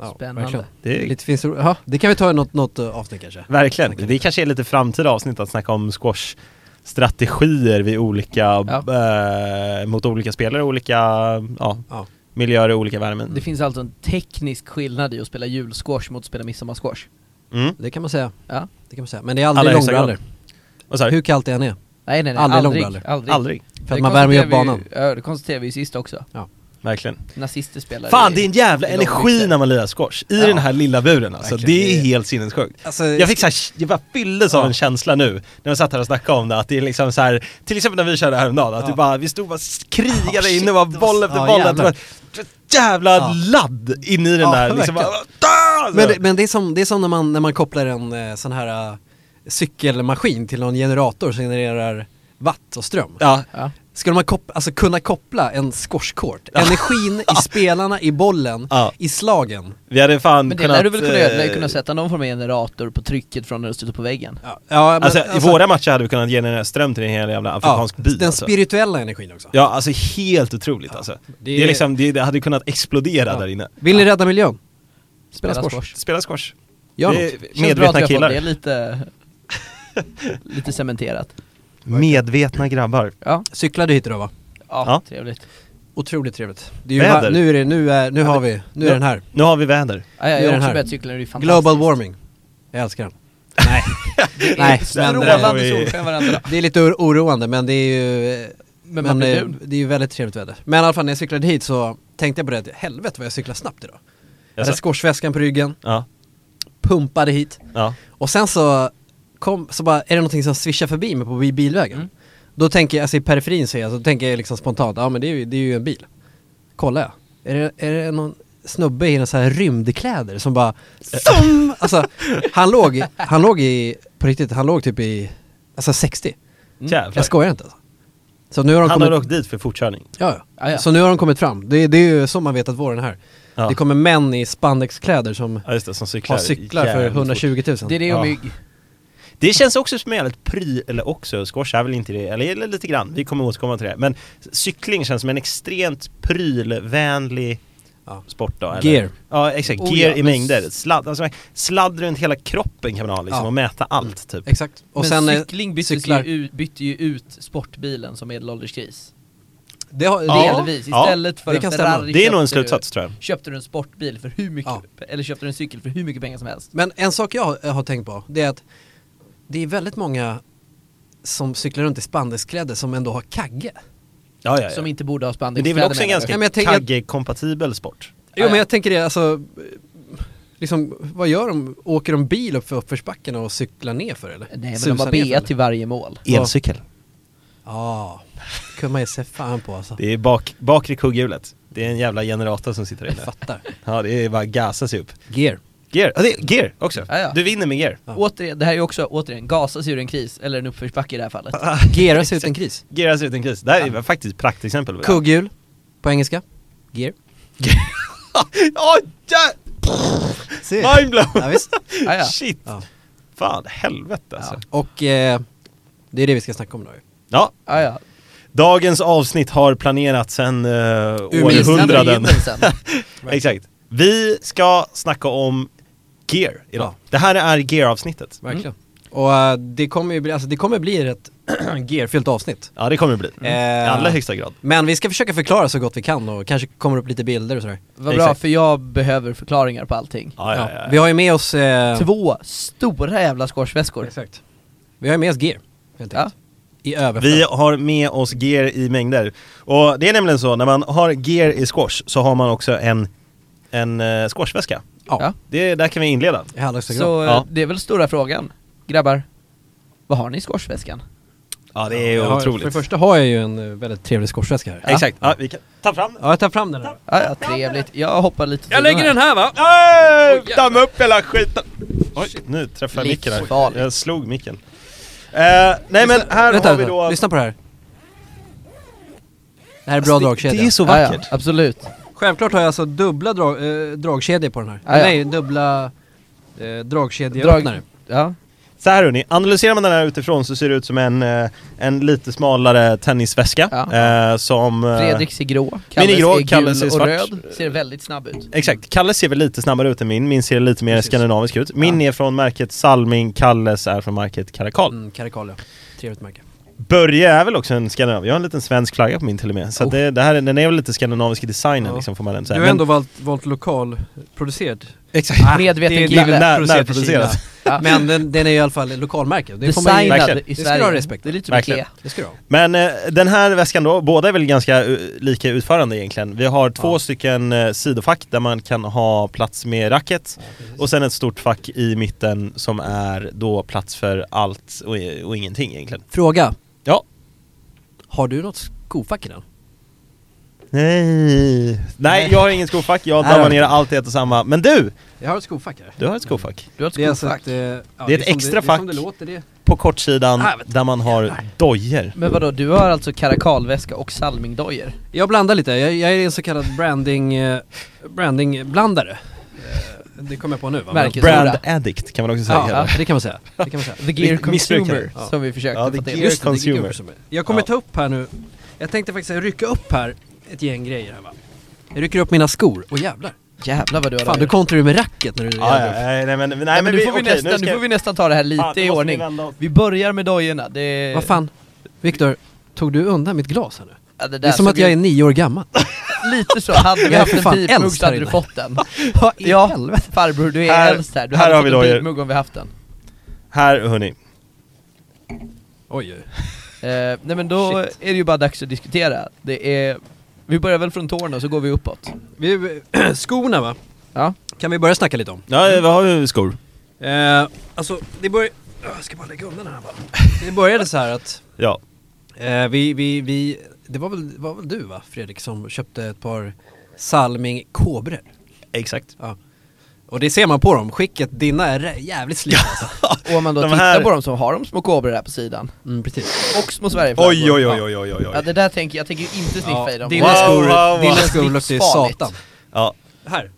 [SPEAKER 2] Ja,
[SPEAKER 3] Spännande.
[SPEAKER 2] verkligen.
[SPEAKER 1] Det är
[SPEAKER 2] Lite finns det, ja, det kan vi ta i något, något eh, avsnitt kanske.
[SPEAKER 1] Verkligen. Det kanske är lite framtida avsnitt att snacka om squash strategier vid olika, eh, mot olika spelare, olika ja,
[SPEAKER 2] Ja.
[SPEAKER 1] miljöer och olika värmen.
[SPEAKER 3] Det finns alltså en teknisk skillnad i att spela julsquash mot att spela midsommarsquash.
[SPEAKER 1] Mm.
[SPEAKER 2] Det kan man säga.
[SPEAKER 3] Ja.
[SPEAKER 2] Det kan man säga. Men det är
[SPEAKER 1] Alla i
[SPEAKER 2] aldrig
[SPEAKER 1] högsta
[SPEAKER 2] långbrallor.
[SPEAKER 1] Vad sa du?
[SPEAKER 2] Hur kallt det än är.
[SPEAKER 3] Nej nej nej,
[SPEAKER 2] Aldrig
[SPEAKER 3] aldrig.
[SPEAKER 2] långbrallor.
[SPEAKER 3] aldrig.
[SPEAKER 1] Aldrig.
[SPEAKER 2] För att
[SPEAKER 3] Det
[SPEAKER 2] man värmer ju upp
[SPEAKER 3] konstaterar
[SPEAKER 2] banan.
[SPEAKER 3] vi ju- Ja, det konstaterade vi ju sist också.
[SPEAKER 1] Verkligen.
[SPEAKER 3] Nazister spelar
[SPEAKER 1] Fan
[SPEAKER 3] i-
[SPEAKER 1] det är en jävla
[SPEAKER 3] i
[SPEAKER 1] energi
[SPEAKER 3] långbyxor.
[SPEAKER 1] när man lirar squash, i
[SPEAKER 3] Ja.
[SPEAKER 1] den här lilla buren alltså.
[SPEAKER 2] Verkligen.
[SPEAKER 1] Det
[SPEAKER 2] Det
[SPEAKER 1] är
[SPEAKER 2] är-
[SPEAKER 1] helt sinnessjukt.
[SPEAKER 2] Alltså,
[SPEAKER 1] Jag fick så här, jag bara fylldes av
[SPEAKER 2] Ja.
[SPEAKER 1] en känsla nu när vi satt här och snackade om det att det är liksom så här, till exempel när vi körde häromdagen, att
[SPEAKER 2] Ja.
[SPEAKER 1] du bara, vi stod bara krigade
[SPEAKER 2] Ja, shit,
[SPEAKER 1] in och bara
[SPEAKER 2] det var-
[SPEAKER 1] boll efter
[SPEAKER 2] ja,
[SPEAKER 1] boll, att det
[SPEAKER 2] jävlar.
[SPEAKER 1] var ett jävla
[SPEAKER 2] Ja.
[SPEAKER 1] ladd in i den
[SPEAKER 2] Ja,
[SPEAKER 1] där liksom bara,
[SPEAKER 2] verkligen.
[SPEAKER 1] "Ah!" så.
[SPEAKER 2] Men, det, men det, är som, det är som när man, när man kopplar en eh, sån här eh, cykelmaskin till någon generator som genererar watt och ström.
[SPEAKER 1] Ja,
[SPEAKER 3] Ja.
[SPEAKER 2] Skulle man kop- alltså kunna koppla en squashkort,
[SPEAKER 1] [LAUGHS]
[SPEAKER 2] energin i spelarna, i bollen,
[SPEAKER 1] Ja.
[SPEAKER 2] i slagen.
[SPEAKER 1] vi hade fan
[SPEAKER 3] Men det
[SPEAKER 1] kunnat...
[SPEAKER 3] lär du väl kunna göra? Du lär ju
[SPEAKER 1] eh,
[SPEAKER 3] kunna sätta någon form av generator på trycket från när du stöter på väggen.
[SPEAKER 2] Ja, ja, men,
[SPEAKER 1] alltså, i våra matcher hade vi kunnat generera ström till en hel jävla afrikansk by
[SPEAKER 2] Den
[SPEAKER 1] alltså.
[SPEAKER 2] spirituella energin också.
[SPEAKER 1] Ja, alltså helt otroligt alltså. Det, är liksom, det, det hade kunnat explodera
[SPEAKER 2] Ja.
[SPEAKER 1] där inne.
[SPEAKER 2] Vill ni rädda miljön? Spela squash. Eh,
[SPEAKER 1] Spela squash.
[SPEAKER 2] Gör
[SPEAKER 1] Det är
[SPEAKER 2] något.
[SPEAKER 3] Känns bra att vi
[SPEAKER 1] medvetna
[SPEAKER 3] har fått
[SPEAKER 1] killar.
[SPEAKER 3] det lite...
[SPEAKER 2] [LAUGHS]
[SPEAKER 3] lite cementerat.
[SPEAKER 1] Medvetna grabbar.
[SPEAKER 3] Ja,
[SPEAKER 2] Cyklade hit idag va?
[SPEAKER 3] ja,
[SPEAKER 1] Ja.
[SPEAKER 3] trevligt.
[SPEAKER 2] Otroligt trevligt. Det är ju
[SPEAKER 1] Väder.
[SPEAKER 2] va- nu är det, nu är, nu har vi, nu är
[SPEAKER 1] Ja.
[SPEAKER 2] den här.
[SPEAKER 1] Nu har vi väder.
[SPEAKER 3] Ja, jag
[SPEAKER 2] Nu är
[SPEAKER 3] har
[SPEAKER 2] den
[SPEAKER 3] också
[SPEAKER 2] här.
[SPEAKER 3] börjat cykla nu, det är fantastiskt.
[SPEAKER 2] Global warming. Jag
[SPEAKER 1] [LAUGHS]
[SPEAKER 2] älskar den. Nej, nej men
[SPEAKER 1] Strålande.
[SPEAKER 2] eh,
[SPEAKER 3] Strålande solsken
[SPEAKER 2] [LAUGHS]
[SPEAKER 3] varenda dag.
[SPEAKER 2] det är lite or- oroande men det är ju eh,
[SPEAKER 3] Men man
[SPEAKER 2] men
[SPEAKER 3] blir
[SPEAKER 2] eh,
[SPEAKER 3] brun.
[SPEAKER 2] det är ju väldigt trevligt väder. Men i alla fall när jag cyklade hit så tänkte jag på det, helvete vad jag cyklade snabbt idag. Jag hade
[SPEAKER 1] Jaså?
[SPEAKER 2] squashväskan på ryggen,
[SPEAKER 1] Ja,
[SPEAKER 2] pumpade hit
[SPEAKER 1] ja.
[SPEAKER 2] och sen så kom, så bara, är det någonting som svischar förbi mig på bilvägen?
[SPEAKER 3] Mm.
[SPEAKER 2] Då tänker jag, alltså i periferin säger jag, så tänker jag liksom spontant, ja men det är ju, det är ju en bil. Kollar jag, är det, är det någon snubbe i någon så här rymdkläder som bara, zoom! Alltså han låg, han låg i, på riktigt, han låg typ i, alltså 60.
[SPEAKER 1] Jävlar.
[SPEAKER 2] Jag skojar inte alltså. Så nu har de
[SPEAKER 1] Han
[SPEAKER 2] kommit,
[SPEAKER 1] har åkt dit för fortkörning.
[SPEAKER 2] ja,
[SPEAKER 3] Ja,
[SPEAKER 2] ja.
[SPEAKER 3] ja.
[SPEAKER 2] Så nu har de kommit fram, det, det är ju så man vet att våren är här.
[SPEAKER 1] Ja.
[SPEAKER 2] Det kommer män i spandexkläder som
[SPEAKER 1] Ja just det, som cyklar
[SPEAKER 2] har cyklar för
[SPEAKER 1] jävligt fort.
[SPEAKER 2] 120 000.
[SPEAKER 3] Det är det
[SPEAKER 1] Ja.
[SPEAKER 3] och mygg.
[SPEAKER 1] Det känns också som en jävligt pry, eller också, squash är väl inte det, eller, eller lite grann, vi kommer återkomma till det. Men cykling känns som en extremt prylvänlig
[SPEAKER 2] Ja.
[SPEAKER 1] sport då, eller?
[SPEAKER 2] Gear.
[SPEAKER 1] Ja exakt,
[SPEAKER 3] Oh,
[SPEAKER 1] gear
[SPEAKER 3] ja,
[SPEAKER 1] i
[SPEAKER 3] men
[SPEAKER 1] mängder. Sladd, alltså, sladd runt hela kroppen kan man ha liksom,
[SPEAKER 2] Ja.
[SPEAKER 1] och mäta allt typ.
[SPEAKER 2] Exakt. Och
[SPEAKER 3] Men
[SPEAKER 2] sen eh,
[SPEAKER 3] cykling byttes
[SPEAKER 2] cyklar.
[SPEAKER 3] Ju ut, bytte ju ut sportbilen som medelålders gris.
[SPEAKER 2] Det har, det,
[SPEAKER 1] Ja.
[SPEAKER 3] Delvis, istället för
[SPEAKER 2] det
[SPEAKER 3] en
[SPEAKER 2] kan
[SPEAKER 3] Ferrari
[SPEAKER 2] stämma.
[SPEAKER 1] Det är nog en
[SPEAKER 3] köpte du-
[SPEAKER 1] slutsats tror jag.
[SPEAKER 3] Köpte du en sportbil för hur mycket, eller köpte du en cykel för hur mycket pengar som helst?
[SPEAKER 2] Men en sak jag har tänkt på, det är att det är väldigt många som cyklar runt i spandexkläder som ändå har kagge.
[SPEAKER 1] Ja, ja, ja.
[SPEAKER 3] Som inte borde ha
[SPEAKER 1] Men det är väl också en
[SPEAKER 3] menar du?
[SPEAKER 1] ganska
[SPEAKER 2] Nej, men jag tänker-
[SPEAKER 1] kagge-kompatibel sport?
[SPEAKER 2] Jo
[SPEAKER 3] ja.
[SPEAKER 2] men jag tänker det, alltså, eh, liksom, vad gör de? Åker de bil upp för uppförsbacken och cyklar ner för eller?
[SPEAKER 3] Nej men
[SPEAKER 2] Susar
[SPEAKER 3] de har
[SPEAKER 2] ner för,
[SPEAKER 3] bea
[SPEAKER 2] eller?
[SPEAKER 3] till varje mål.
[SPEAKER 1] Elcykel.
[SPEAKER 2] Ja, kunde man ju se fan på alltså.
[SPEAKER 1] Det är bak, bakre kugghjulet. Det är en jävla generator som sitter där
[SPEAKER 2] Jag
[SPEAKER 1] inne.
[SPEAKER 2] fattar.
[SPEAKER 1] Ja, det är bara gasa sig upp. [LAUGHS]
[SPEAKER 2] Gear.
[SPEAKER 1] Gear, ja, det är gear också.
[SPEAKER 3] Ja, ja.
[SPEAKER 1] Du vinner med gear.
[SPEAKER 2] Ja.
[SPEAKER 3] Återigen, det här är ju också, återigen, gasas ur en kris, eller en uppförsbacke i det
[SPEAKER 1] [LAUGHS]
[SPEAKER 3] här fallet.
[SPEAKER 2] Gearas ut en kris.
[SPEAKER 1] Gearas ut en kris. Det här är faktiskt ett praktexempel. på det.
[SPEAKER 2] Kugghjul, på engelska. Gear.
[SPEAKER 1] Åh, jä-
[SPEAKER 2] Se.
[SPEAKER 1] Mindblown!
[SPEAKER 2] Ja,
[SPEAKER 1] [LAUGHS]
[SPEAKER 2] visst.
[SPEAKER 3] Ah, ja.
[SPEAKER 1] Shit!
[SPEAKER 2] Ja.
[SPEAKER 1] Fan, helvete alltså.
[SPEAKER 2] Och eh, det är det vi ska snacka om nu.
[SPEAKER 1] Ja,
[SPEAKER 3] Ah, ja.
[SPEAKER 1] dagens avsnitt har planerats sedan eh,
[SPEAKER 2] minsta
[SPEAKER 1] århundraden.
[SPEAKER 3] begynnelsen.
[SPEAKER 1] [LAUGHS] Exakt. Vi ska snacka om Gear idag.
[SPEAKER 2] Ja.
[SPEAKER 1] Det här är Gear-avsnittet.
[SPEAKER 2] Verkligen. Och eh, det kommer ju bli, alltså det kommer bli ett [CLEARS THROAT] gearfyllt avsnitt.
[SPEAKER 1] Ja, det kommer det bli. Mm. I
[SPEAKER 2] Eh,
[SPEAKER 1] allra högsta grad.
[SPEAKER 2] Men vi ska försöka förklara så gott vi kan och kanske kommer upp lite bilder och sådär.
[SPEAKER 3] Vad bra,
[SPEAKER 1] Exakt.
[SPEAKER 3] för jag behöver förklaringar på allting.
[SPEAKER 1] Ja, ja, ja.
[SPEAKER 2] Vi har ju med oss... Eh,
[SPEAKER 3] Två stora jävla squashväskor.
[SPEAKER 2] Exakt. Vi har ju med oss gear, helt
[SPEAKER 3] Ja.
[SPEAKER 2] enkelt. I överflöd.
[SPEAKER 1] Vi har med oss gear i mängder. Och det är nämligen så, när man har gear i squash så har man också en, en eh, squashväska.
[SPEAKER 2] Ja.
[SPEAKER 3] Ja.
[SPEAKER 1] Det, där kan vi inleda.
[SPEAKER 2] I allra högsta grad.
[SPEAKER 3] Så eh,
[SPEAKER 1] Ja.
[SPEAKER 3] det är väl stora frågan. Grabbar, vad har ni i squashväskan?
[SPEAKER 1] Ja, det är ju
[SPEAKER 2] Jag har- För det
[SPEAKER 1] otroligt.
[SPEAKER 2] första har jag ju en eh, väldigt trevlig squashväska här.
[SPEAKER 1] Exakt. Ja, vi kan ta fram den.
[SPEAKER 2] Ja, jag tar fram den här.
[SPEAKER 3] Ah, ja, trevligt. Jag hoppar lite till
[SPEAKER 2] här va?
[SPEAKER 1] Oj,
[SPEAKER 2] Oj,
[SPEAKER 1] Damma upp hela skiten! Oj, nu träffade jag micken här.
[SPEAKER 3] Livsfarligt.
[SPEAKER 1] Jag slog micken. Eh, nej men här
[SPEAKER 2] Vänta,
[SPEAKER 1] har vi
[SPEAKER 2] vänta.
[SPEAKER 1] då...
[SPEAKER 2] lyssna på det här. Det här är bra
[SPEAKER 1] Alltså, det-
[SPEAKER 2] dragkedja.
[SPEAKER 1] det är så
[SPEAKER 3] Ah, ja,
[SPEAKER 1] vackert.
[SPEAKER 3] absolut.
[SPEAKER 2] Självklart har jag alltså dubbla drag, eh, dragkedjor på den här.
[SPEAKER 3] Ah, ja.
[SPEAKER 2] Nej, dubbla eh, dragkedjeöppnare.
[SPEAKER 3] Ja.
[SPEAKER 1] Så här hörni, analyserar man den här utifrån så ser det ut som en, eh, en lite smalare tennisväska.
[SPEAKER 3] Ja.
[SPEAKER 1] eh, som... eh,
[SPEAKER 3] Fredrik ser grå,
[SPEAKER 1] Min är
[SPEAKER 3] Kalles
[SPEAKER 1] grå,
[SPEAKER 3] är gul
[SPEAKER 1] Kalles är
[SPEAKER 3] och
[SPEAKER 1] svart.
[SPEAKER 3] röd. Ser väldigt snabb ut.
[SPEAKER 1] Exakt, Kalles ser väl lite snabbare ut än min, min ser lite mer
[SPEAKER 2] Precis.
[SPEAKER 1] skandinavisk ut. Min är från märket Salming, Kalles är från märket Karakal.
[SPEAKER 2] Mm, Karakal ja. Trevligt märke.
[SPEAKER 1] Börje är väl också en skandinav, jag har en liten svensk flagga på min till och med. Så att
[SPEAKER 3] Oh.
[SPEAKER 1] det, det här, är- den är väl lite skandinavisk i designen
[SPEAKER 2] Ja.
[SPEAKER 1] liksom får man ändå
[SPEAKER 2] Du
[SPEAKER 1] säga.
[SPEAKER 2] har ändå valt, valt lokalproducerad. Ah,
[SPEAKER 1] exakt.
[SPEAKER 3] Medveten
[SPEAKER 2] det är
[SPEAKER 3] kille.
[SPEAKER 2] givet
[SPEAKER 1] När-
[SPEAKER 2] producerat i
[SPEAKER 1] närproducerat.
[SPEAKER 2] Kina.
[SPEAKER 3] Ja.
[SPEAKER 2] Men den, den är ju i alla fall lokalmärke. Det får man ju...
[SPEAKER 1] Design.
[SPEAKER 3] Designad
[SPEAKER 1] Verkligen.
[SPEAKER 3] i
[SPEAKER 2] Det ska
[SPEAKER 3] Sverige.
[SPEAKER 2] du ha respekt för.
[SPEAKER 3] Det är lite som
[SPEAKER 1] Verkligen.
[SPEAKER 3] Ikea.
[SPEAKER 2] Det ska du ha.
[SPEAKER 1] Men eh, den här väskan då, båda är väl ganska eh, lika utförande egentligen. Vi har två
[SPEAKER 2] Ja.
[SPEAKER 1] stycken eh, sidofack där man kan ha plats med racket och sen ett stort fack i mitten som är då plats för allt och, och ingenting egentligen.
[SPEAKER 2] Fråga.
[SPEAKER 1] Ja.
[SPEAKER 2] Har du något skofack i den?
[SPEAKER 1] Nej, Nej jag har ingen skofack, jag
[SPEAKER 2] Nej,
[SPEAKER 1] dammar
[SPEAKER 2] då.
[SPEAKER 1] ner allt i ett och samma. Men du!
[SPEAKER 2] Jag har ett skofack här.
[SPEAKER 1] Du har ett skofack.
[SPEAKER 3] Du har ett
[SPEAKER 2] Det är alltså
[SPEAKER 3] skofack.
[SPEAKER 2] ett, eh, ja,
[SPEAKER 1] Det är ett
[SPEAKER 2] som
[SPEAKER 1] extra
[SPEAKER 2] det, Det är
[SPEAKER 1] fack.
[SPEAKER 2] som det låter det.
[SPEAKER 1] På kortsidan
[SPEAKER 2] Ah, vet du.
[SPEAKER 1] där man har dojer.
[SPEAKER 2] eh,
[SPEAKER 3] Men vadå, du har alltså karakalväska och salmingdojor?
[SPEAKER 2] Jag blandar lite, jag, jag är en så kallad branding, eh, branding-blandare. Eh, det kommer jag på nu va?
[SPEAKER 3] Märket. Vilken
[SPEAKER 1] Brand
[SPEAKER 3] stora.
[SPEAKER 1] addict kan man också säga.
[SPEAKER 2] ja, ja, det kan man säga. Det kan man säga.
[SPEAKER 3] The Gear
[SPEAKER 1] Mi- missbrukare.
[SPEAKER 3] Consumer,
[SPEAKER 2] Ja.
[SPEAKER 3] som vi försökte
[SPEAKER 1] Ja,
[SPEAKER 3] få
[SPEAKER 1] the
[SPEAKER 3] till.
[SPEAKER 1] gear-
[SPEAKER 2] Just det, det är
[SPEAKER 1] consumer.
[SPEAKER 2] Gear consumer. Jag kommer
[SPEAKER 1] Ja.
[SPEAKER 2] ta upp här nu, jag tänkte faktiskt rycka upp här ett gäng grejer här va. Jag rycker upp mina skor, och jävlar.
[SPEAKER 3] Jävlar vad du har
[SPEAKER 2] Fan
[SPEAKER 3] där.
[SPEAKER 2] du kontrar ju med racket när du
[SPEAKER 1] Ja, ja, nej, nej men, nej,
[SPEAKER 3] Nej,
[SPEAKER 1] men
[SPEAKER 3] men
[SPEAKER 1] vi,
[SPEAKER 3] nu, får vi
[SPEAKER 1] okej,
[SPEAKER 3] nästan,
[SPEAKER 1] nu
[SPEAKER 3] nu,
[SPEAKER 1] ska-
[SPEAKER 3] får vi nästan ta det här lite
[SPEAKER 1] Fan, nu
[SPEAKER 3] i
[SPEAKER 1] måste vi
[SPEAKER 3] ordning.
[SPEAKER 1] vända oss.
[SPEAKER 3] Vi börjar med dojorna, det...
[SPEAKER 2] Vad fan, Viktor, tog du undan mitt glas här nu?
[SPEAKER 3] Ja, det, där
[SPEAKER 2] Det är som
[SPEAKER 3] såg
[SPEAKER 2] att jag
[SPEAKER 3] ju-
[SPEAKER 2] är nio år gammal.
[SPEAKER 3] Lite så, hade
[SPEAKER 2] Jag
[SPEAKER 3] vi
[SPEAKER 2] är
[SPEAKER 3] haft
[SPEAKER 2] för
[SPEAKER 3] en
[SPEAKER 2] fan
[SPEAKER 3] pipmugg
[SPEAKER 2] äldst
[SPEAKER 3] så
[SPEAKER 2] här
[SPEAKER 3] hade du
[SPEAKER 2] inne. [LAUGHS]
[SPEAKER 3] fått den.
[SPEAKER 2] Vad i
[SPEAKER 3] Ja.
[SPEAKER 2] helvete?
[SPEAKER 3] Farbror, du är
[SPEAKER 1] Här-
[SPEAKER 3] äldst här. Du
[SPEAKER 1] här
[SPEAKER 3] hade
[SPEAKER 1] har
[SPEAKER 3] fått
[SPEAKER 1] vi
[SPEAKER 3] en
[SPEAKER 1] dojor.
[SPEAKER 3] pipmugg om vi haft den.
[SPEAKER 1] Här hörni,
[SPEAKER 2] Oj, oj.
[SPEAKER 3] Eh, nej men då
[SPEAKER 2] Shit.
[SPEAKER 3] är det ju bara dags att diskutera. Det är... Vi börjar väl från tårna och så går vi uppåt.
[SPEAKER 2] Vi, [CLEARS THROAT] skorna va,
[SPEAKER 3] Ja.
[SPEAKER 2] kan vi börja snacka lite om?
[SPEAKER 1] ja, vad har vi för skor?
[SPEAKER 2] Eh, alltså, det började... Jag ska bara lägga undan den här bara. [LAUGHS] Det började så här att
[SPEAKER 1] Ja,
[SPEAKER 2] eh, vi, vi, vi... Det var väl, var väl du va, Fredrik, som köpte ett par Salming Kobror?
[SPEAKER 1] exakt.
[SPEAKER 2] Ja. Och det ser man på dem, skicket, dina är rä- jävligt slitna alltså.
[SPEAKER 3] Och om man då
[SPEAKER 1] De
[SPEAKER 3] tittar
[SPEAKER 1] här-
[SPEAKER 3] på dem så har de små kobror här på sidan.
[SPEAKER 2] Mm, precis.
[SPEAKER 3] Och små Sverigeflaggor.
[SPEAKER 1] Oj, oj, oj, oj, oj, oj.
[SPEAKER 3] Ja det där tänker jag, tänker ju inte sniffa i dem.
[SPEAKER 2] dina
[SPEAKER 1] Wow,
[SPEAKER 2] skor,
[SPEAKER 1] wow, wow.
[SPEAKER 2] dina skor luktar ju
[SPEAKER 3] Livsfarligt.
[SPEAKER 2] satan.
[SPEAKER 1] Ja,
[SPEAKER 2] Här.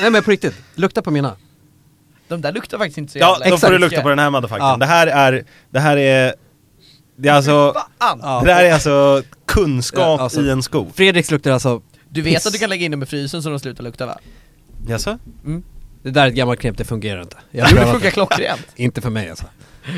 [SPEAKER 2] Nej men på riktigt, lukta på mina.
[SPEAKER 3] De där luktar faktiskt inte så
[SPEAKER 1] ja
[SPEAKER 3] jävla
[SPEAKER 1] då får du
[SPEAKER 3] mycket.
[SPEAKER 1] lukta på den här motherfuckern.
[SPEAKER 2] Ja.
[SPEAKER 1] Det här är, det här är, det är alltså,
[SPEAKER 3] Fan!
[SPEAKER 2] Ja.
[SPEAKER 1] det här är alltså kunskap
[SPEAKER 2] Ja, alltså.
[SPEAKER 1] i en sko.
[SPEAKER 2] Fredriks luktar alltså...
[SPEAKER 3] Du vet att du kan lägga in dem i frysen så de slutar lukta va? Mm.
[SPEAKER 1] Jaså?
[SPEAKER 2] Det där är ett gammalt knep, det fungerar inte. Jag har
[SPEAKER 3] Jo det
[SPEAKER 2] prövat
[SPEAKER 3] funkar klockrent.
[SPEAKER 2] det. Inte för mig alltså.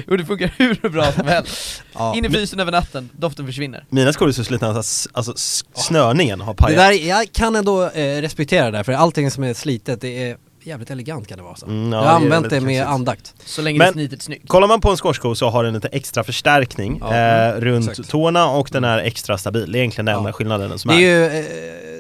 [SPEAKER 3] Jo det funkar [LAUGHS] hur bra som helst.
[SPEAKER 2] Ja.
[SPEAKER 3] In i frysen över natten, doften försvinner.
[SPEAKER 1] Mina skor är så slitna att s- alltså s- snörningen har
[SPEAKER 2] Det
[SPEAKER 1] pajat.
[SPEAKER 2] där, jag kan ändå eh, respektera det där, för allting som är slitet, det är jävligt elegant kan det vara så.
[SPEAKER 1] Mm, ja,
[SPEAKER 2] jag
[SPEAKER 1] det är
[SPEAKER 2] har använt det
[SPEAKER 1] väldigt
[SPEAKER 2] med
[SPEAKER 1] kaxigt.
[SPEAKER 2] andakt.
[SPEAKER 3] Så länge
[SPEAKER 1] Men-
[SPEAKER 3] det är snitet snyggt.
[SPEAKER 1] Kollar man på en squashsko så har den lite extra förstärkning
[SPEAKER 2] Ja,
[SPEAKER 1] eh,
[SPEAKER 2] mm,
[SPEAKER 1] runt
[SPEAKER 2] exakt.
[SPEAKER 1] tårna och den är extra stabil. Det är egentligen den
[SPEAKER 2] Ja.
[SPEAKER 1] enda skillnaden som
[SPEAKER 2] Det är
[SPEAKER 1] är.
[SPEAKER 2] ju, eh,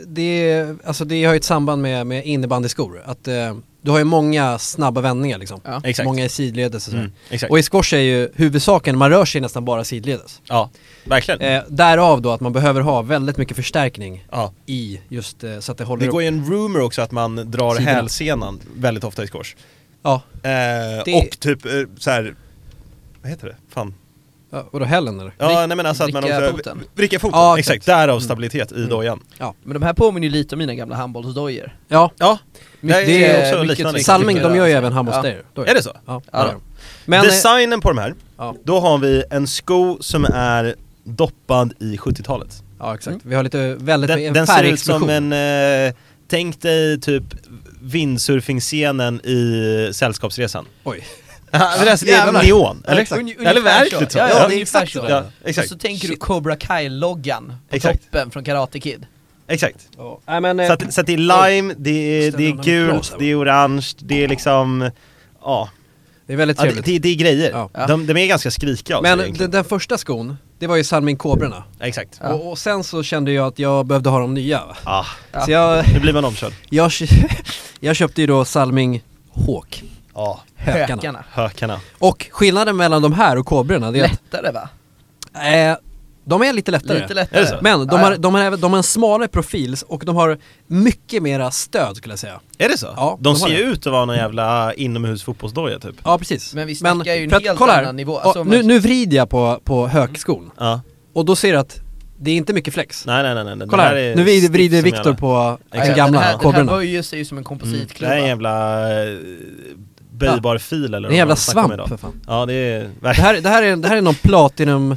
[SPEAKER 2] det, är, alltså det har ju ett samband med, med innebandyskor, att eh, du har ju många snabba vändningar liksom.
[SPEAKER 3] Ja.
[SPEAKER 1] Exakt.
[SPEAKER 2] Många i sidledes och sådär.
[SPEAKER 1] Mm, exakt.
[SPEAKER 2] Och i squash är ju huvudsaken, man rör sig nästan bara sidledes.
[SPEAKER 1] Ja, verkligen.
[SPEAKER 2] Eh, därav då att man behöver ha väldigt mycket förstärkning
[SPEAKER 1] ja.
[SPEAKER 2] i just eh, så att det håller
[SPEAKER 1] Det går
[SPEAKER 2] upp.
[SPEAKER 1] ju en rumor också att man drar
[SPEAKER 2] Sidorna.
[SPEAKER 1] hälsenan väldigt ofta i squash.
[SPEAKER 2] Ja,
[SPEAKER 1] Eh,
[SPEAKER 2] Det-
[SPEAKER 1] Och typ eh, så här. vad heter det? Fan.
[SPEAKER 2] Ja, vadå hällen eller?
[SPEAKER 1] Ja,
[SPEAKER 3] Vrick-
[SPEAKER 1] nej men alltså att man
[SPEAKER 3] vricka
[SPEAKER 1] också...
[SPEAKER 3] foten.
[SPEAKER 1] Vricka foten,
[SPEAKER 2] Ja, exakt.
[SPEAKER 1] exakt. Därav
[SPEAKER 2] Mm.
[SPEAKER 1] stabilitet i
[SPEAKER 2] Mm.
[SPEAKER 1] dojan.
[SPEAKER 3] Men de här påminner ju lite om mina gamla handbollsdojor.
[SPEAKER 2] Ja,
[SPEAKER 1] Ja,
[SPEAKER 2] mycket-
[SPEAKER 1] det, är också
[SPEAKER 3] mycket
[SPEAKER 1] liknande.
[SPEAKER 3] tryck.
[SPEAKER 2] Salming de gör ju
[SPEAKER 3] Ja.
[SPEAKER 2] även handbollsdojor. då
[SPEAKER 1] Är det så?
[SPEAKER 2] Ja,
[SPEAKER 3] Ja.
[SPEAKER 2] ja. Men, eh,
[SPEAKER 1] Designen på de här,
[SPEAKER 2] Ja.
[SPEAKER 1] då har vi en sko som är doppad i 70-talet.
[SPEAKER 2] ja exakt, vi har lite väldigt
[SPEAKER 1] Den, den ser ut som en... Eh, tänk dig typ windsurfingscenen i Sällskapsresan.
[SPEAKER 2] Oj.
[SPEAKER 1] Ja, men alltså, det är
[SPEAKER 2] Jävlar.
[SPEAKER 1] neon,
[SPEAKER 2] Ja,
[SPEAKER 1] eller?
[SPEAKER 2] exakt.
[SPEAKER 3] Uni-
[SPEAKER 1] Eller
[SPEAKER 3] ungefär
[SPEAKER 1] verkligt så.
[SPEAKER 3] Ja,
[SPEAKER 1] Ja,
[SPEAKER 3] ja, det är exakt så.
[SPEAKER 1] Ja,
[SPEAKER 3] Och
[SPEAKER 1] exakt.
[SPEAKER 3] så tänker du
[SPEAKER 2] Shit.
[SPEAKER 3] Cobra Kai-loggan på
[SPEAKER 1] Exakt.
[SPEAKER 3] toppen från Karate Kid.
[SPEAKER 1] Exakt.
[SPEAKER 2] Ja. Nej, men, eh,
[SPEAKER 1] Så att, så att det är lime, det är,
[SPEAKER 2] Ställer
[SPEAKER 1] det är
[SPEAKER 2] honom en
[SPEAKER 1] gult,
[SPEAKER 2] blåsa.
[SPEAKER 1] det är orange, det är liksom... Ja,
[SPEAKER 2] det är väldigt
[SPEAKER 1] ja det,
[SPEAKER 2] trevligt.
[SPEAKER 1] det, det är grejer.
[SPEAKER 2] Ja.
[SPEAKER 1] De, de är ganska skrikiga av sig
[SPEAKER 2] men
[SPEAKER 1] egentligen.
[SPEAKER 2] den, den första skon, det var ju Salming Kobrorna.
[SPEAKER 1] Ja, Exakt.
[SPEAKER 3] Ja.
[SPEAKER 2] Och, och sen så kände jag att jag behövde ha de nya. va?
[SPEAKER 1] Ah,
[SPEAKER 3] Ja.
[SPEAKER 2] Så jag,
[SPEAKER 1] nu blir man omkörd.
[SPEAKER 2] jag, [LAUGHS] jag köpte ju då Salming Hawk,
[SPEAKER 1] Ja,
[SPEAKER 2] Hökarna.
[SPEAKER 1] hökarna.
[SPEAKER 2] Och skillnaden mellan de här och Kobrorna, det är att
[SPEAKER 3] Lättare va?
[SPEAKER 2] eh, de är lite lättare.
[SPEAKER 3] Lite
[SPEAKER 1] Är det så?
[SPEAKER 3] lättare.
[SPEAKER 2] Men de
[SPEAKER 3] Ja,
[SPEAKER 2] har,
[SPEAKER 3] ja.
[SPEAKER 2] de, har, även- de har en smalare profil och de har mycket mera stöd skulle jag säga.
[SPEAKER 1] Är det så?
[SPEAKER 2] Ja,
[SPEAKER 1] de
[SPEAKER 2] de har
[SPEAKER 1] ser ju
[SPEAKER 2] det.
[SPEAKER 1] ut att vara någon jävla inomhusfotbollsdoja typ.
[SPEAKER 2] Ja precis.
[SPEAKER 3] Men vi snackar ju en
[SPEAKER 2] för att-
[SPEAKER 3] helt
[SPEAKER 2] kolla här.
[SPEAKER 3] annan nivå.
[SPEAKER 2] Ja,
[SPEAKER 3] Alltså, om
[SPEAKER 2] nu,
[SPEAKER 3] man-
[SPEAKER 2] nu vrider jag på, på högskon
[SPEAKER 1] Ja.
[SPEAKER 2] och då ser du att det är inte mycket flex.
[SPEAKER 1] Nej nej nej nej. den
[SPEAKER 2] Kolla
[SPEAKER 1] här
[SPEAKER 2] här,
[SPEAKER 1] är
[SPEAKER 2] nu vrider,
[SPEAKER 1] stiff
[SPEAKER 2] vrider
[SPEAKER 1] som
[SPEAKER 2] Viktor
[SPEAKER 1] jävla-
[SPEAKER 2] på
[SPEAKER 1] Exakt.
[SPEAKER 2] den
[SPEAKER 3] Ja,
[SPEAKER 2] gamla
[SPEAKER 3] den här, den här
[SPEAKER 2] kobberna.
[SPEAKER 3] böjer sig ju som en
[SPEAKER 1] Mm, Det
[SPEAKER 3] kompositklubba.
[SPEAKER 1] här är en jävla eh, böjbar fil eller
[SPEAKER 2] Det är en
[SPEAKER 1] vad
[SPEAKER 2] jävla
[SPEAKER 1] man snackar om
[SPEAKER 2] svamp
[SPEAKER 1] idag.
[SPEAKER 2] för fan.
[SPEAKER 1] Ja det är...
[SPEAKER 2] Det här, det, här är, det här är någon
[SPEAKER 1] [LAUGHS]
[SPEAKER 2] platinum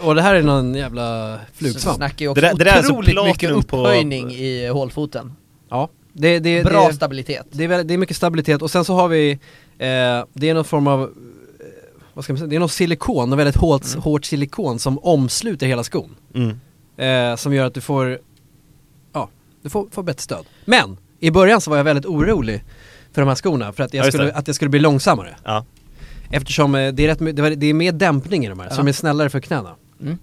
[SPEAKER 2] och det här är någon jävla flugsvamp.
[SPEAKER 3] Snackar ju också
[SPEAKER 1] Det där- det där är alltså
[SPEAKER 3] otroligt mycket
[SPEAKER 1] platinum på-
[SPEAKER 3] upphöjning i hålfoten.
[SPEAKER 2] Ja, det, det,
[SPEAKER 3] Bra
[SPEAKER 2] det,
[SPEAKER 3] stabilitet.
[SPEAKER 2] det, är, väl- det är mycket stabilitet och sen så har vi, eh, det är någon form av, eh, vad ska man säga, det är någon silikon, något väldigt hårt, hårt silikon som omsluter hela skon.
[SPEAKER 1] Mm.
[SPEAKER 2] Eh, som gör att du får, ja, du får, får bättre stöd. Men, i början så var jag väldigt orolig för de här skorna för att
[SPEAKER 1] Ja,
[SPEAKER 2] jag
[SPEAKER 1] just
[SPEAKER 2] skulle,
[SPEAKER 1] det.
[SPEAKER 2] att jag skulle bli långsammare.
[SPEAKER 1] Ja.
[SPEAKER 2] Eftersom eh, det är, rätt, my- det var- det är mer dämpning i de här,
[SPEAKER 3] Ja.
[SPEAKER 2] som är snällare för knäna.
[SPEAKER 3] Mm.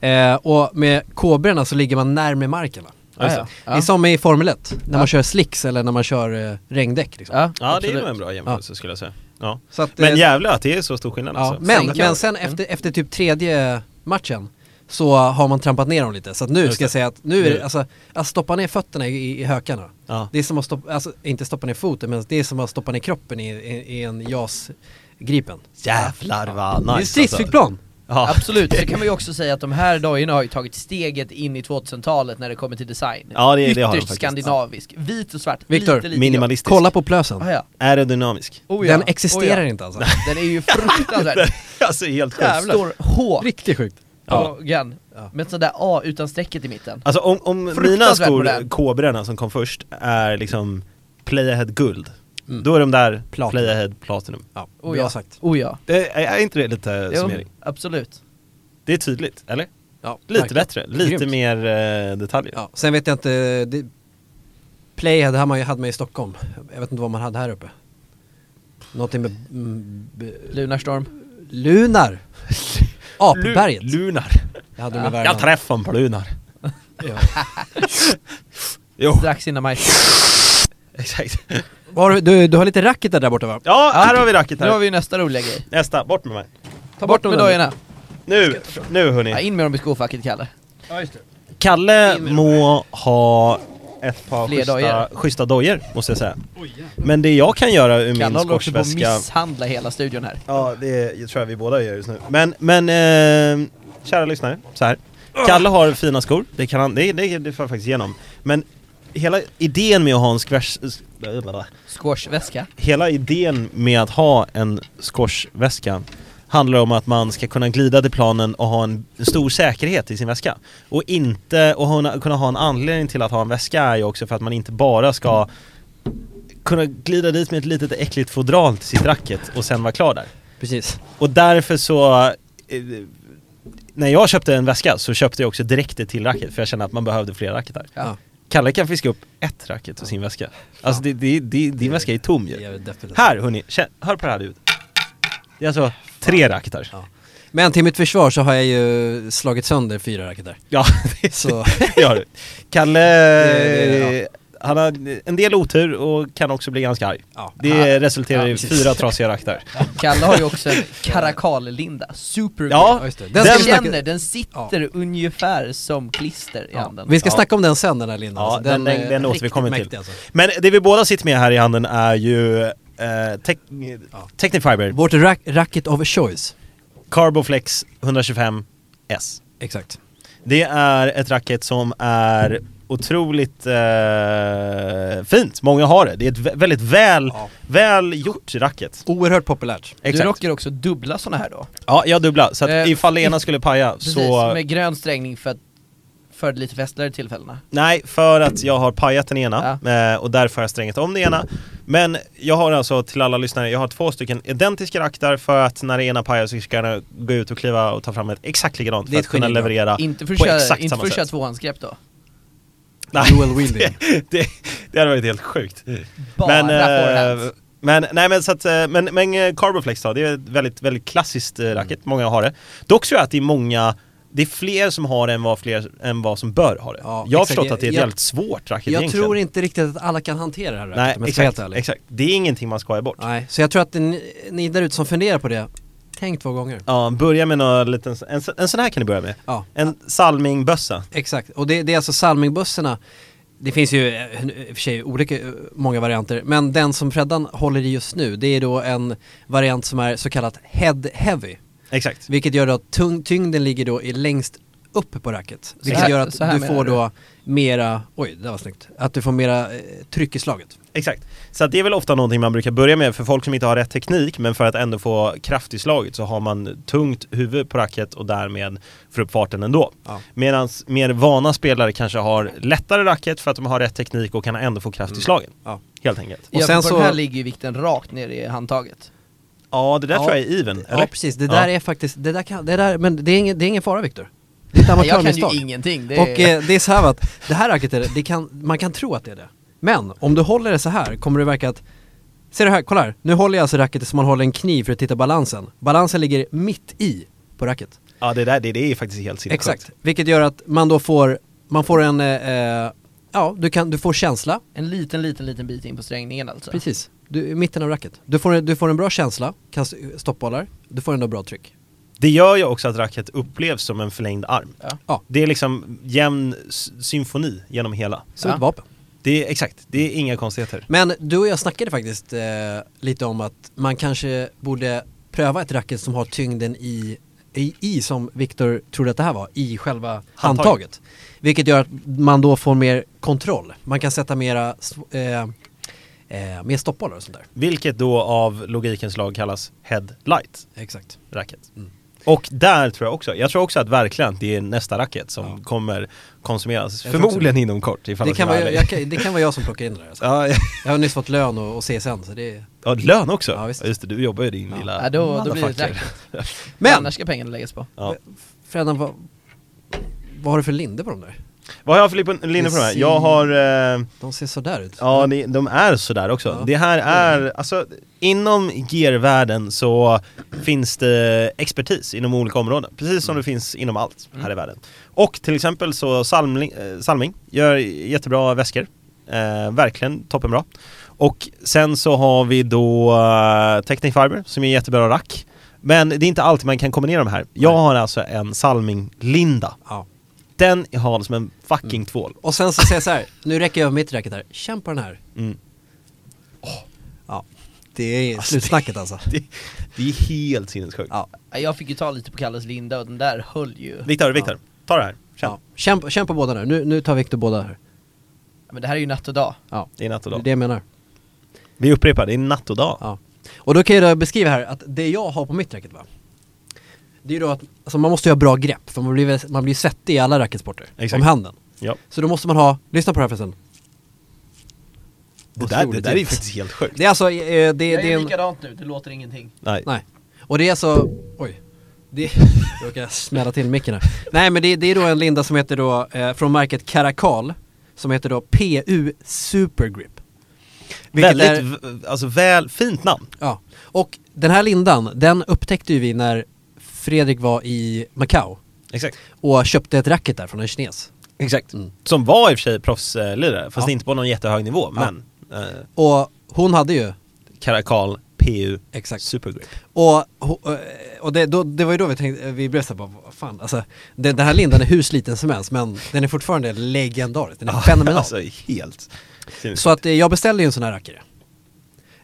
[SPEAKER 2] Eh, och med kobrorna så ligger man närmare marken va?
[SPEAKER 1] Ja, just det.
[SPEAKER 2] Det är
[SPEAKER 3] Ja,
[SPEAKER 2] som i Formel 1, när
[SPEAKER 3] Ja.
[SPEAKER 2] man kör slicks eller när man kör eh, regndäck liksom.
[SPEAKER 3] ja,
[SPEAKER 1] Ja det är
[SPEAKER 3] absolut.
[SPEAKER 1] nog en bra jämförelse skulle jag säga. Ja.
[SPEAKER 2] Så att, eh,
[SPEAKER 1] Men jävlar att det är så stor skillnad
[SPEAKER 2] ja,
[SPEAKER 1] alltså.
[SPEAKER 2] men,
[SPEAKER 3] Sänka.
[SPEAKER 2] men sen
[SPEAKER 3] Mm.
[SPEAKER 2] efter, efter typ tredje matchen så har man trampat ner dem lite. Så att nu
[SPEAKER 1] Just
[SPEAKER 2] ska jag
[SPEAKER 1] det.
[SPEAKER 2] säga att nu är
[SPEAKER 1] Nu.
[SPEAKER 2] det, alltså, att stoppa ner fötterna i, i hökarna.
[SPEAKER 1] Ja.
[SPEAKER 2] Det är som att stoppa, alltså inte stoppa ner foten men det är som att stoppa ner kroppen i, i, i en JAS-gripen.
[SPEAKER 1] Jävlar vad nice alltså.
[SPEAKER 2] det är
[SPEAKER 3] alltså.
[SPEAKER 2] stridsflygplan!
[SPEAKER 1] Ja.
[SPEAKER 3] Absolut,
[SPEAKER 1] [LAUGHS]
[SPEAKER 3] så kan man ju också säga att de här dojorna har ju tagit steget in i 2000-talet när det kommer till design.
[SPEAKER 1] Ja, det- det har de
[SPEAKER 3] Ytterst
[SPEAKER 1] faktiskt.
[SPEAKER 3] skandinavisk, vit och svart,
[SPEAKER 2] Viktor,
[SPEAKER 3] lite, lite
[SPEAKER 1] Minimalistisk.
[SPEAKER 2] Kolla på plösen.
[SPEAKER 3] Ah, ja.
[SPEAKER 1] Aerodynamisk.
[SPEAKER 3] Oh, ja.
[SPEAKER 2] Den existerar
[SPEAKER 3] Oh, ja.
[SPEAKER 2] inte
[SPEAKER 3] [LAUGHS]
[SPEAKER 2] alltså.
[SPEAKER 3] Den är ju
[SPEAKER 1] [LAUGHS]
[SPEAKER 3] fruktansvärd.
[SPEAKER 1] alltså helt sjukt.
[SPEAKER 3] Jävlar. Står H
[SPEAKER 2] Riktigt sjukt.
[SPEAKER 1] Ja.
[SPEAKER 3] på gun,
[SPEAKER 2] Ja.
[SPEAKER 3] med ett sånt där A utan strecket i mitten.
[SPEAKER 1] Alltså om, om mina
[SPEAKER 3] Fruktansvärt
[SPEAKER 1] skor,
[SPEAKER 3] modern.
[SPEAKER 1] kobrorna som kom först, är liksom Playahead guld. Då är de där
[SPEAKER 2] Platinum.
[SPEAKER 1] Playahead platinum.
[SPEAKER 2] Ja,
[SPEAKER 3] Oh,
[SPEAKER 2] bra
[SPEAKER 3] ja.
[SPEAKER 2] sagt.
[SPEAKER 3] Oh ja.
[SPEAKER 1] Det är, är inte det lite
[SPEAKER 3] Jo,
[SPEAKER 1] summering?
[SPEAKER 3] absolut.
[SPEAKER 1] Det är tydligt, eller?
[SPEAKER 2] Ja,
[SPEAKER 1] Lite
[SPEAKER 2] verkligen.
[SPEAKER 1] bättre, lite
[SPEAKER 2] Grymt.
[SPEAKER 1] mer eh, detaljer.
[SPEAKER 2] Ja, sen vet jag inte, det, Play hade man ju hade man i Stockholm. Jag vet inte vad man hade här uppe. Någonting med mm, b,
[SPEAKER 3] Lunarstorm.
[SPEAKER 2] Lunar! [LAUGHS]
[SPEAKER 1] Lu-
[SPEAKER 2] Apberget.
[SPEAKER 1] lunar.
[SPEAKER 2] jag hade dem i
[SPEAKER 1] Jag
[SPEAKER 2] Värmland.
[SPEAKER 1] träffade honom på Lunar.
[SPEAKER 2] Ja.
[SPEAKER 1] Jo,
[SPEAKER 3] Strax innan maj.
[SPEAKER 1] exakt.
[SPEAKER 2] Var, du- du, du har lite racket där borta va?
[SPEAKER 1] Ja, här har vi racket
[SPEAKER 3] Nu har
[SPEAKER 1] här.
[SPEAKER 3] vi ju nästa roliga grej.
[SPEAKER 1] Nästa, bort med mig.
[SPEAKER 2] Ta
[SPEAKER 3] Bort
[SPEAKER 2] dem
[SPEAKER 3] med
[SPEAKER 2] där.
[SPEAKER 3] dojorna.
[SPEAKER 1] Nu, nu
[SPEAKER 3] Ja,
[SPEAKER 1] hörni.
[SPEAKER 3] in med dem i skofacket Kalle.
[SPEAKER 1] Kalle må ha ett par
[SPEAKER 3] Fler
[SPEAKER 1] schyssta,
[SPEAKER 3] dojor.
[SPEAKER 1] schyssta dojor, måste jag säga. Men det jag kan göra ur min
[SPEAKER 3] Kalle håller också på att
[SPEAKER 1] skorsväska...
[SPEAKER 3] misshandla hela studion här.
[SPEAKER 1] Ja, det tror jag vi båda gör just nu. Men, men eh, kära lyssnare, så här. Kalle har fina skor, det kan han, det, det, det får jag faktiskt igenom. Men hela idén med att ha en skvärs...
[SPEAKER 3] Squashväska.
[SPEAKER 1] Hela idén med att ha en skorsväska handlar om att man ska kunna glida till planen och ha en stor säkerhet i sin väska. Och inte, och hona- kunna ha en anledning till att ha en väska är ju också för att man inte bara ska kunna glida dit med ett litet äckligt fodral till sitt racket och sen vara klar där.
[SPEAKER 2] Precis.
[SPEAKER 1] Och därför så eh, när jag köpte en väska så köpte jag också direkt det till racket för jag kände att man behövde fler racketar.
[SPEAKER 2] Ja.
[SPEAKER 1] Kalle kan fiska upp ett racket ur sin väska. Alltså det, det, det, din väska är tom
[SPEAKER 2] Det
[SPEAKER 1] ju.
[SPEAKER 2] är definitivt.
[SPEAKER 1] Här hörni, känn, hör på det här ljudet. Det är alltså tre racketar.
[SPEAKER 2] Ja. Men till mitt försvar så har jag ju slagit sönder fyra racketar.
[SPEAKER 1] Ja, [LAUGHS] det,
[SPEAKER 2] Så,
[SPEAKER 1] det gör du. Kalle,
[SPEAKER 2] Det- det-
[SPEAKER 1] han har en del otur och kan också bli ganska arg.
[SPEAKER 2] ja.
[SPEAKER 1] Det resulterar i
[SPEAKER 2] Ja, precis.
[SPEAKER 1] fyra trasiga racketar.
[SPEAKER 3] Kalle har ju
[SPEAKER 2] [LAUGHS]
[SPEAKER 3] också en karakallinda, super
[SPEAKER 1] Ja,
[SPEAKER 2] just det. Den
[SPEAKER 3] Den,
[SPEAKER 2] ska vi snacka-
[SPEAKER 3] känner, den sitter ungefär som klister i
[SPEAKER 2] Ja.
[SPEAKER 3] handen.
[SPEAKER 2] Vi ska
[SPEAKER 1] Ja.
[SPEAKER 2] snacka om den sen Alltså, den här lindan.
[SPEAKER 1] Ja, den- den-
[SPEAKER 2] är
[SPEAKER 1] den
[SPEAKER 2] riktigt
[SPEAKER 1] återkommer till.
[SPEAKER 2] mäktig, Alltså.
[SPEAKER 1] Men det vi båda sitter med här i handen är ju eh, tec-
[SPEAKER 2] Ja.
[SPEAKER 1] Technifiber.
[SPEAKER 2] Vårt rack, racket of choice.
[SPEAKER 1] Carboflex 125S.
[SPEAKER 2] Exakt.
[SPEAKER 1] Det är ett racket som är otroligt eh, fint. Många har det. Det är ett vä- väldigt väl,
[SPEAKER 2] Ja.
[SPEAKER 1] väl gjort racket.
[SPEAKER 2] Oerhört populärt.
[SPEAKER 1] Exakt.
[SPEAKER 3] Du rockar också dubbla sådana här då?
[SPEAKER 1] Ja, jag dubblar. Så att
[SPEAKER 3] Eh,
[SPEAKER 1] ifall det ena skulle paja
[SPEAKER 3] Precis,
[SPEAKER 1] så...
[SPEAKER 3] med grön strängning för, att, för lite festligare tillfällena.
[SPEAKER 1] Nej, för att jag har pajat den ena eh, och därför har jag strängat om den ena. Men jag har alltså till alla lyssnare, jag har två stycken identiska rackar för att när det ena pajar så ska jag gå ut och kliva och ta fram ett exakt likadant
[SPEAKER 2] Det
[SPEAKER 1] för
[SPEAKER 2] är
[SPEAKER 1] att
[SPEAKER 2] ett
[SPEAKER 1] kunna
[SPEAKER 2] genidrag.
[SPEAKER 1] leverera.
[SPEAKER 3] inte för att
[SPEAKER 1] på
[SPEAKER 3] köra,
[SPEAKER 1] exakt
[SPEAKER 3] inte
[SPEAKER 1] samma
[SPEAKER 3] för att köra
[SPEAKER 1] sätt.
[SPEAKER 3] tvåhandsgrepp då?
[SPEAKER 1] Nej,
[SPEAKER 2] Dual
[SPEAKER 1] [LAUGHS]
[SPEAKER 2] wielding.
[SPEAKER 1] det, det hade varit helt sjukt.
[SPEAKER 3] Bara
[SPEAKER 1] eh,
[SPEAKER 3] forehands.
[SPEAKER 1] men, nej men så att, eh, men, men eh, Carboflex då, det är ett väldigt, väldigt klassiskt eh,
[SPEAKER 2] Mm.
[SPEAKER 1] racket, många har det. Dock så är det att det är många, det är fler som har det än vad, fler, än vad som bör ha det.
[SPEAKER 2] Ja,
[SPEAKER 1] jag har
[SPEAKER 2] exakt.
[SPEAKER 1] förstått att det är ett
[SPEAKER 2] Jag-
[SPEAKER 1] jävligt svårt racket
[SPEAKER 2] Jag
[SPEAKER 1] egentligen.
[SPEAKER 2] tror inte riktigt att alla kan hantera det här
[SPEAKER 1] Nej,
[SPEAKER 2] racket, om jag ska vara
[SPEAKER 1] exakt,
[SPEAKER 2] helt ärlig.
[SPEAKER 1] exakt. Det är ingenting man skojar bort.
[SPEAKER 2] Nej, så jag tror att ni, ni där ute som funderar på det, tänk två gånger.
[SPEAKER 1] Ja, börja med någon liten, en, en sån här kan du börja med.
[SPEAKER 2] Ja,
[SPEAKER 1] En Salmingbössa.
[SPEAKER 2] exakt. Och det, det är alltså Salmingbussarna, det finns ju eh, i och för sig olika, eh, många varianter, men den som Freddan håller i just nu, det är då en variant som är så kallat head heavy,
[SPEAKER 1] Exakt.
[SPEAKER 2] vilket gör då att tung, tyngden ligger då i längst upp på racket, vilket
[SPEAKER 3] här-
[SPEAKER 2] gör
[SPEAKER 3] så
[SPEAKER 2] att
[SPEAKER 3] här
[SPEAKER 2] du
[SPEAKER 3] menar
[SPEAKER 2] får
[SPEAKER 3] du?
[SPEAKER 2] då mera, oj det där var snyggt, att du får mera eh, tryck i slaget.
[SPEAKER 1] Exakt. Så att det är väl ofta någonting man brukar börja med för folk som inte har rätt teknik men för att ändå få kraft i slaget så har man tungt huvud på racket och därmed får upp farten ändå.
[SPEAKER 2] Ja.
[SPEAKER 1] Medan mer vana spelare kanske har lättare racket för att de har rätt teknik och kan ändå få kraft i slagen.
[SPEAKER 2] Ja.
[SPEAKER 1] Helt enkelt.
[SPEAKER 2] och
[SPEAKER 3] Och
[SPEAKER 2] sen
[SPEAKER 3] sen på
[SPEAKER 2] så-
[SPEAKER 3] den här ligger ju vikten rakt ner i handtaget.
[SPEAKER 1] Ja, det där
[SPEAKER 2] Ja.
[SPEAKER 1] tror jag är even, eller?
[SPEAKER 2] Ja precis, det där
[SPEAKER 1] Ja.
[SPEAKER 2] är faktiskt, det där kan, det där, men det är ingen, det är ingen fara
[SPEAKER 3] [LAUGHS]
[SPEAKER 2] Viktor. Det är ett
[SPEAKER 3] Jag kan
[SPEAKER 2] amatörmisstag.
[SPEAKER 3] ju ingenting. Det
[SPEAKER 2] Och
[SPEAKER 3] är...
[SPEAKER 2] eh, det är så här att det här racket är det, det kan, man kan tro att det är det. Men om du håller det så här kommer det verka att, ser du här, kolla här. Nu håller jag alltså racketet som man håller en kniv för att titta balansen. Balansen ligger mitt i på racket.
[SPEAKER 1] Ja, det där det, det är faktiskt helt sinnessjukt.
[SPEAKER 2] Exakt. Vilket gör att man då får, man får en, eh, eh, ja du kan, du får känsla.
[SPEAKER 3] En liten, liten, liten bit in på strängningen alltså.
[SPEAKER 2] Precis. Du, i mitten av racket. Du får, en- du får en bra känsla, kan s- stoppbollar, du får ändå bra tryck.
[SPEAKER 1] Det gör ju också att racket upplevs som en förlängd arm.
[SPEAKER 3] Ja.
[SPEAKER 2] Ja,
[SPEAKER 1] Det är liksom jämn s- symfoni genom hela.
[SPEAKER 2] som
[SPEAKER 3] Ja.
[SPEAKER 2] ett vapen.
[SPEAKER 1] Det är exakt, det är inga konstigheter.
[SPEAKER 2] Men du och jag snackade faktiskt eh, lite om att man kanske borde pröva ett racket som har tyngden i, i, i som Viktor trodde att det här var, i själva handtaget. Vilket gör att man då får mer kontroll. Man kan sätta mera, sv- eh, eh, mer stoppbollar och sånt där.
[SPEAKER 1] Vilket då av logikens lag kallas headlight
[SPEAKER 2] Exakt.
[SPEAKER 1] racket.
[SPEAKER 2] Mm.
[SPEAKER 1] Och där tror jag också, jag tror också att verkligen att det är nästa racket som
[SPEAKER 2] Ja.
[SPEAKER 1] kommer konsumeras,
[SPEAKER 2] Jag tror
[SPEAKER 1] förmodligen inom kort ifall
[SPEAKER 2] Det
[SPEAKER 1] jag ska
[SPEAKER 2] kan, vara,
[SPEAKER 1] ärlig.
[SPEAKER 2] jag, kan, det kan vara jag som plockar in det där.
[SPEAKER 1] [LAUGHS]
[SPEAKER 2] Alltså.
[SPEAKER 1] Ja,
[SPEAKER 2] Jag har nyss fått lön och, och CSN så det är...
[SPEAKER 1] ja, lön också!
[SPEAKER 2] Ja, visst.
[SPEAKER 1] Ja, just det, du jobbar ju din
[SPEAKER 2] Ja.
[SPEAKER 1] lilla
[SPEAKER 3] Ja, då, då blir det ett
[SPEAKER 1] motherfucker.
[SPEAKER 3] racket.
[SPEAKER 2] [LAUGHS]
[SPEAKER 3] Men!
[SPEAKER 2] Men!
[SPEAKER 3] Annars ska pengarna läggas på.
[SPEAKER 1] Ja.
[SPEAKER 2] Fredan, vad, vad har du för linde på dem där?
[SPEAKER 1] Vad har jag för li- på- linje på de här?
[SPEAKER 2] Precis.
[SPEAKER 1] Jag har eh,
[SPEAKER 2] De ser sådär ut.
[SPEAKER 1] Ja, ni, de är sådär också.
[SPEAKER 2] Ja.
[SPEAKER 1] Det här är, alltså inom gearvärlden så finns det expertis inom olika områden. Precis
[SPEAKER 2] Mm.
[SPEAKER 1] som det finns inom allt här i världen. Och till exempel så Salming, eh, Salming gör jättebra väskor. Eh, verkligen toppenbra. Och sen så har vi då eh, Technic Fiber som är jättebra rack. Men det är inte alltid man kan kombinera de här. Jag har alltså en Salming Linda.
[SPEAKER 2] ja.
[SPEAKER 1] Den jag har som en fucking
[SPEAKER 2] Mm.
[SPEAKER 1] tvål.
[SPEAKER 2] Och sen så säger jag så här, nu räcker jag över mitt racket här, känn på den här.
[SPEAKER 1] Mm.
[SPEAKER 2] Ja, det är slutsnacket alltså.
[SPEAKER 1] Det, det är helt sinnessjukt.
[SPEAKER 2] Ja,
[SPEAKER 3] Ja, Jag fick ju ta lite på Kalles linda och den där höll ju.
[SPEAKER 1] Viktor, Viktor, ta det här. Känn.
[SPEAKER 2] ja. Känn, på- känn på båda nu, nu, nu tar Viktor båda här.
[SPEAKER 3] Ja, Men det här är ju natt och dag.
[SPEAKER 2] Ja,
[SPEAKER 1] Det är natt och
[SPEAKER 2] det är
[SPEAKER 1] dag.
[SPEAKER 2] det jag menar.
[SPEAKER 1] Vi upprepar, det är natt och dag.
[SPEAKER 2] Ja. Och då kan jag då beskriva här att det jag har på mitt racket va, det är ju då att alltså, man måste ju ha bra grepp för man blir, väl- man blir svettig i alla racketsporter,
[SPEAKER 1] Exakt.
[SPEAKER 2] om handen.
[SPEAKER 1] Ja.
[SPEAKER 2] Så då måste man ha, lyssna på det här förresten.
[SPEAKER 1] Det, där, det där är ju
[SPEAKER 2] Otroligt.
[SPEAKER 1] faktiskt helt sjukt.
[SPEAKER 2] Det är alltså, eh, det, det
[SPEAKER 3] Jag
[SPEAKER 2] är
[SPEAKER 3] är
[SPEAKER 2] en...
[SPEAKER 3] likadant nu, det låter ingenting.
[SPEAKER 1] Nej.
[SPEAKER 2] Nej. Och det är alltså, oj. Det, [LAUGHS] jag råkade smälla till micken här. Nej men det, det är då en linda som heter då, eh, från märket Caracal, som heter då PU Supergrip. Vilket
[SPEAKER 1] Väldigt,
[SPEAKER 2] är,
[SPEAKER 1] v- alltså väl, fint namn.
[SPEAKER 2] ja. Och den här lindan, den upptäckte ju vi när Fredrik var i Macau
[SPEAKER 1] Exakt.
[SPEAKER 2] och köpte ett racket där från en kines.
[SPEAKER 1] Exakt.
[SPEAKER 2] Mm.
[SPEAKER 1] Som var i och för sig proffslirare, fast
[SPEAKER 2] Ja.
[SPEAKER 1] inte på någon jättehög nivå.
[SPEAKER 2] Ja.
[SPEAKER 1] Men eh,
[SPEAKER 2] Och hon hade ju,
[SPEAKER 1] Caracal PU
[SPEAKER 2] exakt.
[SPEAKER 1] Supergrip.
[SPEAKER 2] Och, och, och det, då, det var ju då vi tänkte, eh, vi blev såhär bara, vad fan alltså, den, den här lindan är hur sliten som helst men den är fortfarande legendarisk, den är fenomenal.
[SPEAKER 1] [LAUGHS] Alltså helt sinnessjukt.
[SPEAKER 2] Så att eh, jag beställde ju en sån här rackare.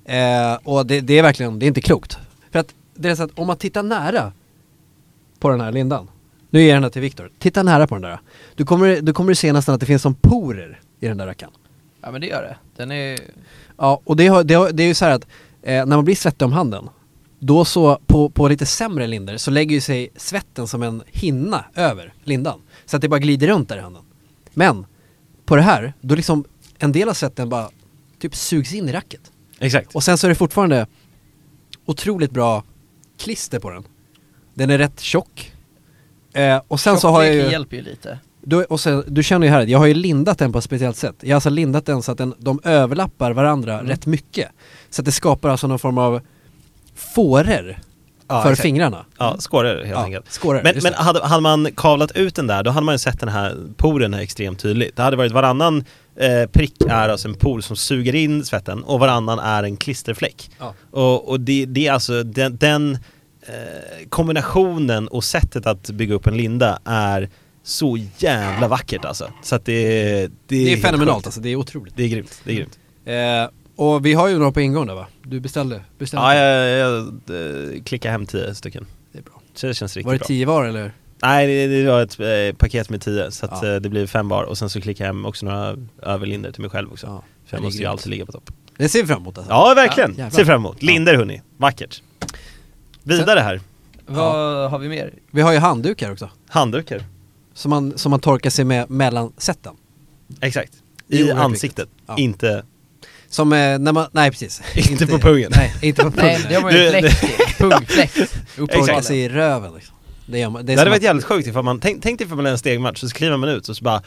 [SPEAKER 2] Eh, och det, det är verkligen, det är inte klokt. För att det är så att om man tittar nära på den här lindan. Nu ger jag den här till Viktor. Titta nära på den där. Du kommer, du kommer se nästan att det finns som porer i den där rackan.
[SPEAKER 3] Ja men det gör det. Den är...
[SPEAKER 2] Ja, och det, har, det, har, det är ju så här att eh, när man blir svettig om handen, då så på, på lite sämre lindor så lägger ju sig svetten som en hinna över lindan. Så att det bara glider runt där i handen. Men på det här, då liksom en del av svetten bara typ sugs in i racket.
[SPEAKER 1] Exakt.
[SPEAKER 2] Och sen så är det fortfarande otroligt bra klister på den. Den är rätt tjock. Eh, och sen så har jag
[SPEAKER 3] Tjockleken
[SPEAKER 2] ju...
[SPEAKER 3] hjälper ju lite.
[SPEAKER 2] Du, och sen, du känner ju här, att jag har ju lindat den på ett speciellt sätt. Jag har alltså lindat den så att den, de överlappar varandra
[SPEAKER 1] Mm.
[SPEAKER 2] rätt mycket. Så att det skapar alltså någon form av fåror
[SPEAKER 1] Ja,
[SPEAKER 2] för
[SPEAKER 1] exakt.
[SPEAKER 2] fingrarna.
[SPEAKER 1] Ja, skåror helt
[SPEAKER 2] Mm. Ja,
[SPEAKER 1] enkelt.
[SPEAKER 2] skåror,
[SPEAKER 1] men
[SPEAKER 2] just
[SPEAKER 1] men
[SPEAKER 2] det.
[SPEAKER 1] hade, hade man kavlat ut den där, då hade man ju sett den här poren här extremt tydligt. Det hade varit varannan eh, prick är alltså en por som suger in svetten och varannan är en klisterfläck.
[SPEAKER 2] Ja.
[SPEAKER 1] Och, och det, det är alltså den, den eh, kombinationen och sättet att bygga upp en linda är så jävla vackert alltså. Så att det, det,
[SPEAKER 2] Det är
[SPEAKER 1] helt
[SPEAKER 2] fenomenalt
[SPEAKER 1] sjukt.
[SPEAKER 2] alltså, det är otroligt.
[SPEAKER 1] Det är grymt, det är grymt.
[SPEAKER 2] Eh, och vi har ju några på ingång där va? Du beställde?
[SPEAKER 1] Ja,
[SPEAKER 2] beställde.
[SPEAKER 1] jag, jag, eh, klickar hem tio stycken.
[SPEAKER 2] Det är bra.
[SPEAKER 1] Så det känns riktigt
[SPEAKER 2] Var det
[SPEAKER 1] bra.
[SPEAKER 2] tio var eller?
[SPEAKER 1] Nej, det, det var ett eh, paket med tio så att,
[SPEAKER 2] Ja.
[SPEAKER 1] eh, det blir fem var och sen så klickar jag hem också några överlinder till mig själv också.
[SPEAKER 2] Ja,
[SPEAKER 1] För jag
[SPEAKER 2] det är
[SPEAKER 1] måste ju
[SPEAKER 2] grymt.
[SPEAKER 1] alltid ligga på topp.
[SPEAKER 2] Det ser vi fram emot alltså.
[SPEAKER 1] Ja, verkligen!
[SPEAKER 2] Ja, jävlar.
[SPEAKER 1] Ser fram emot. Linder hörni, vackert. Vidare här,
[SPEAKER 3] Vad har vi mer?
[SPEAKER 2] Vi har ju handdukar också.
[SPEAKER 1] handdukar.
[SPEAKER 2] Som man, som man torkar sig med mellan sätten.
[SPEAKER 1] Exakt.
[SPEAKER 2] Det är
[SPEAKER 1] I
[SPEAKER 2] oerhört
[SPEAKER 1] ansiktet,
[SPEAKER 2] viktigt. Ja.
[SPEAKER 1] inte...
[SPEAKER 2] Som eh, när man, nej precis.
[SPEAKER 1] Inte på pungen.
[SPEAKER 2] Nej, inte
[SPEAKER 1] [LAUGHS]
[SPEAKER 2] på pungen.
[SPEAKER 3] Nej, det var
[SPEAKER 1] Du-
[SPEAKER 3] ju fläkt.
[SPEAKER 1] [LAUGHS]
[SPEAKER 3] Pungfläkt.
[SPEAKER 2] Torka
[SPEAKER 1] Exakt.
[SPEAKER 2] sig i röven liksom. Det, gör man, det
[SPEAKER 1] Det,
[SPEAKER 2] är
[SPEAKER 1] hade
[SPEAKER 2] som
[SPEAKER 1] varit
[SPEAKER 2] att-
[SPEAKER 1] jävligt sjukt ifall man, tänk, tänk dig ifall man är en stegmatch, så kliver man ut och så bara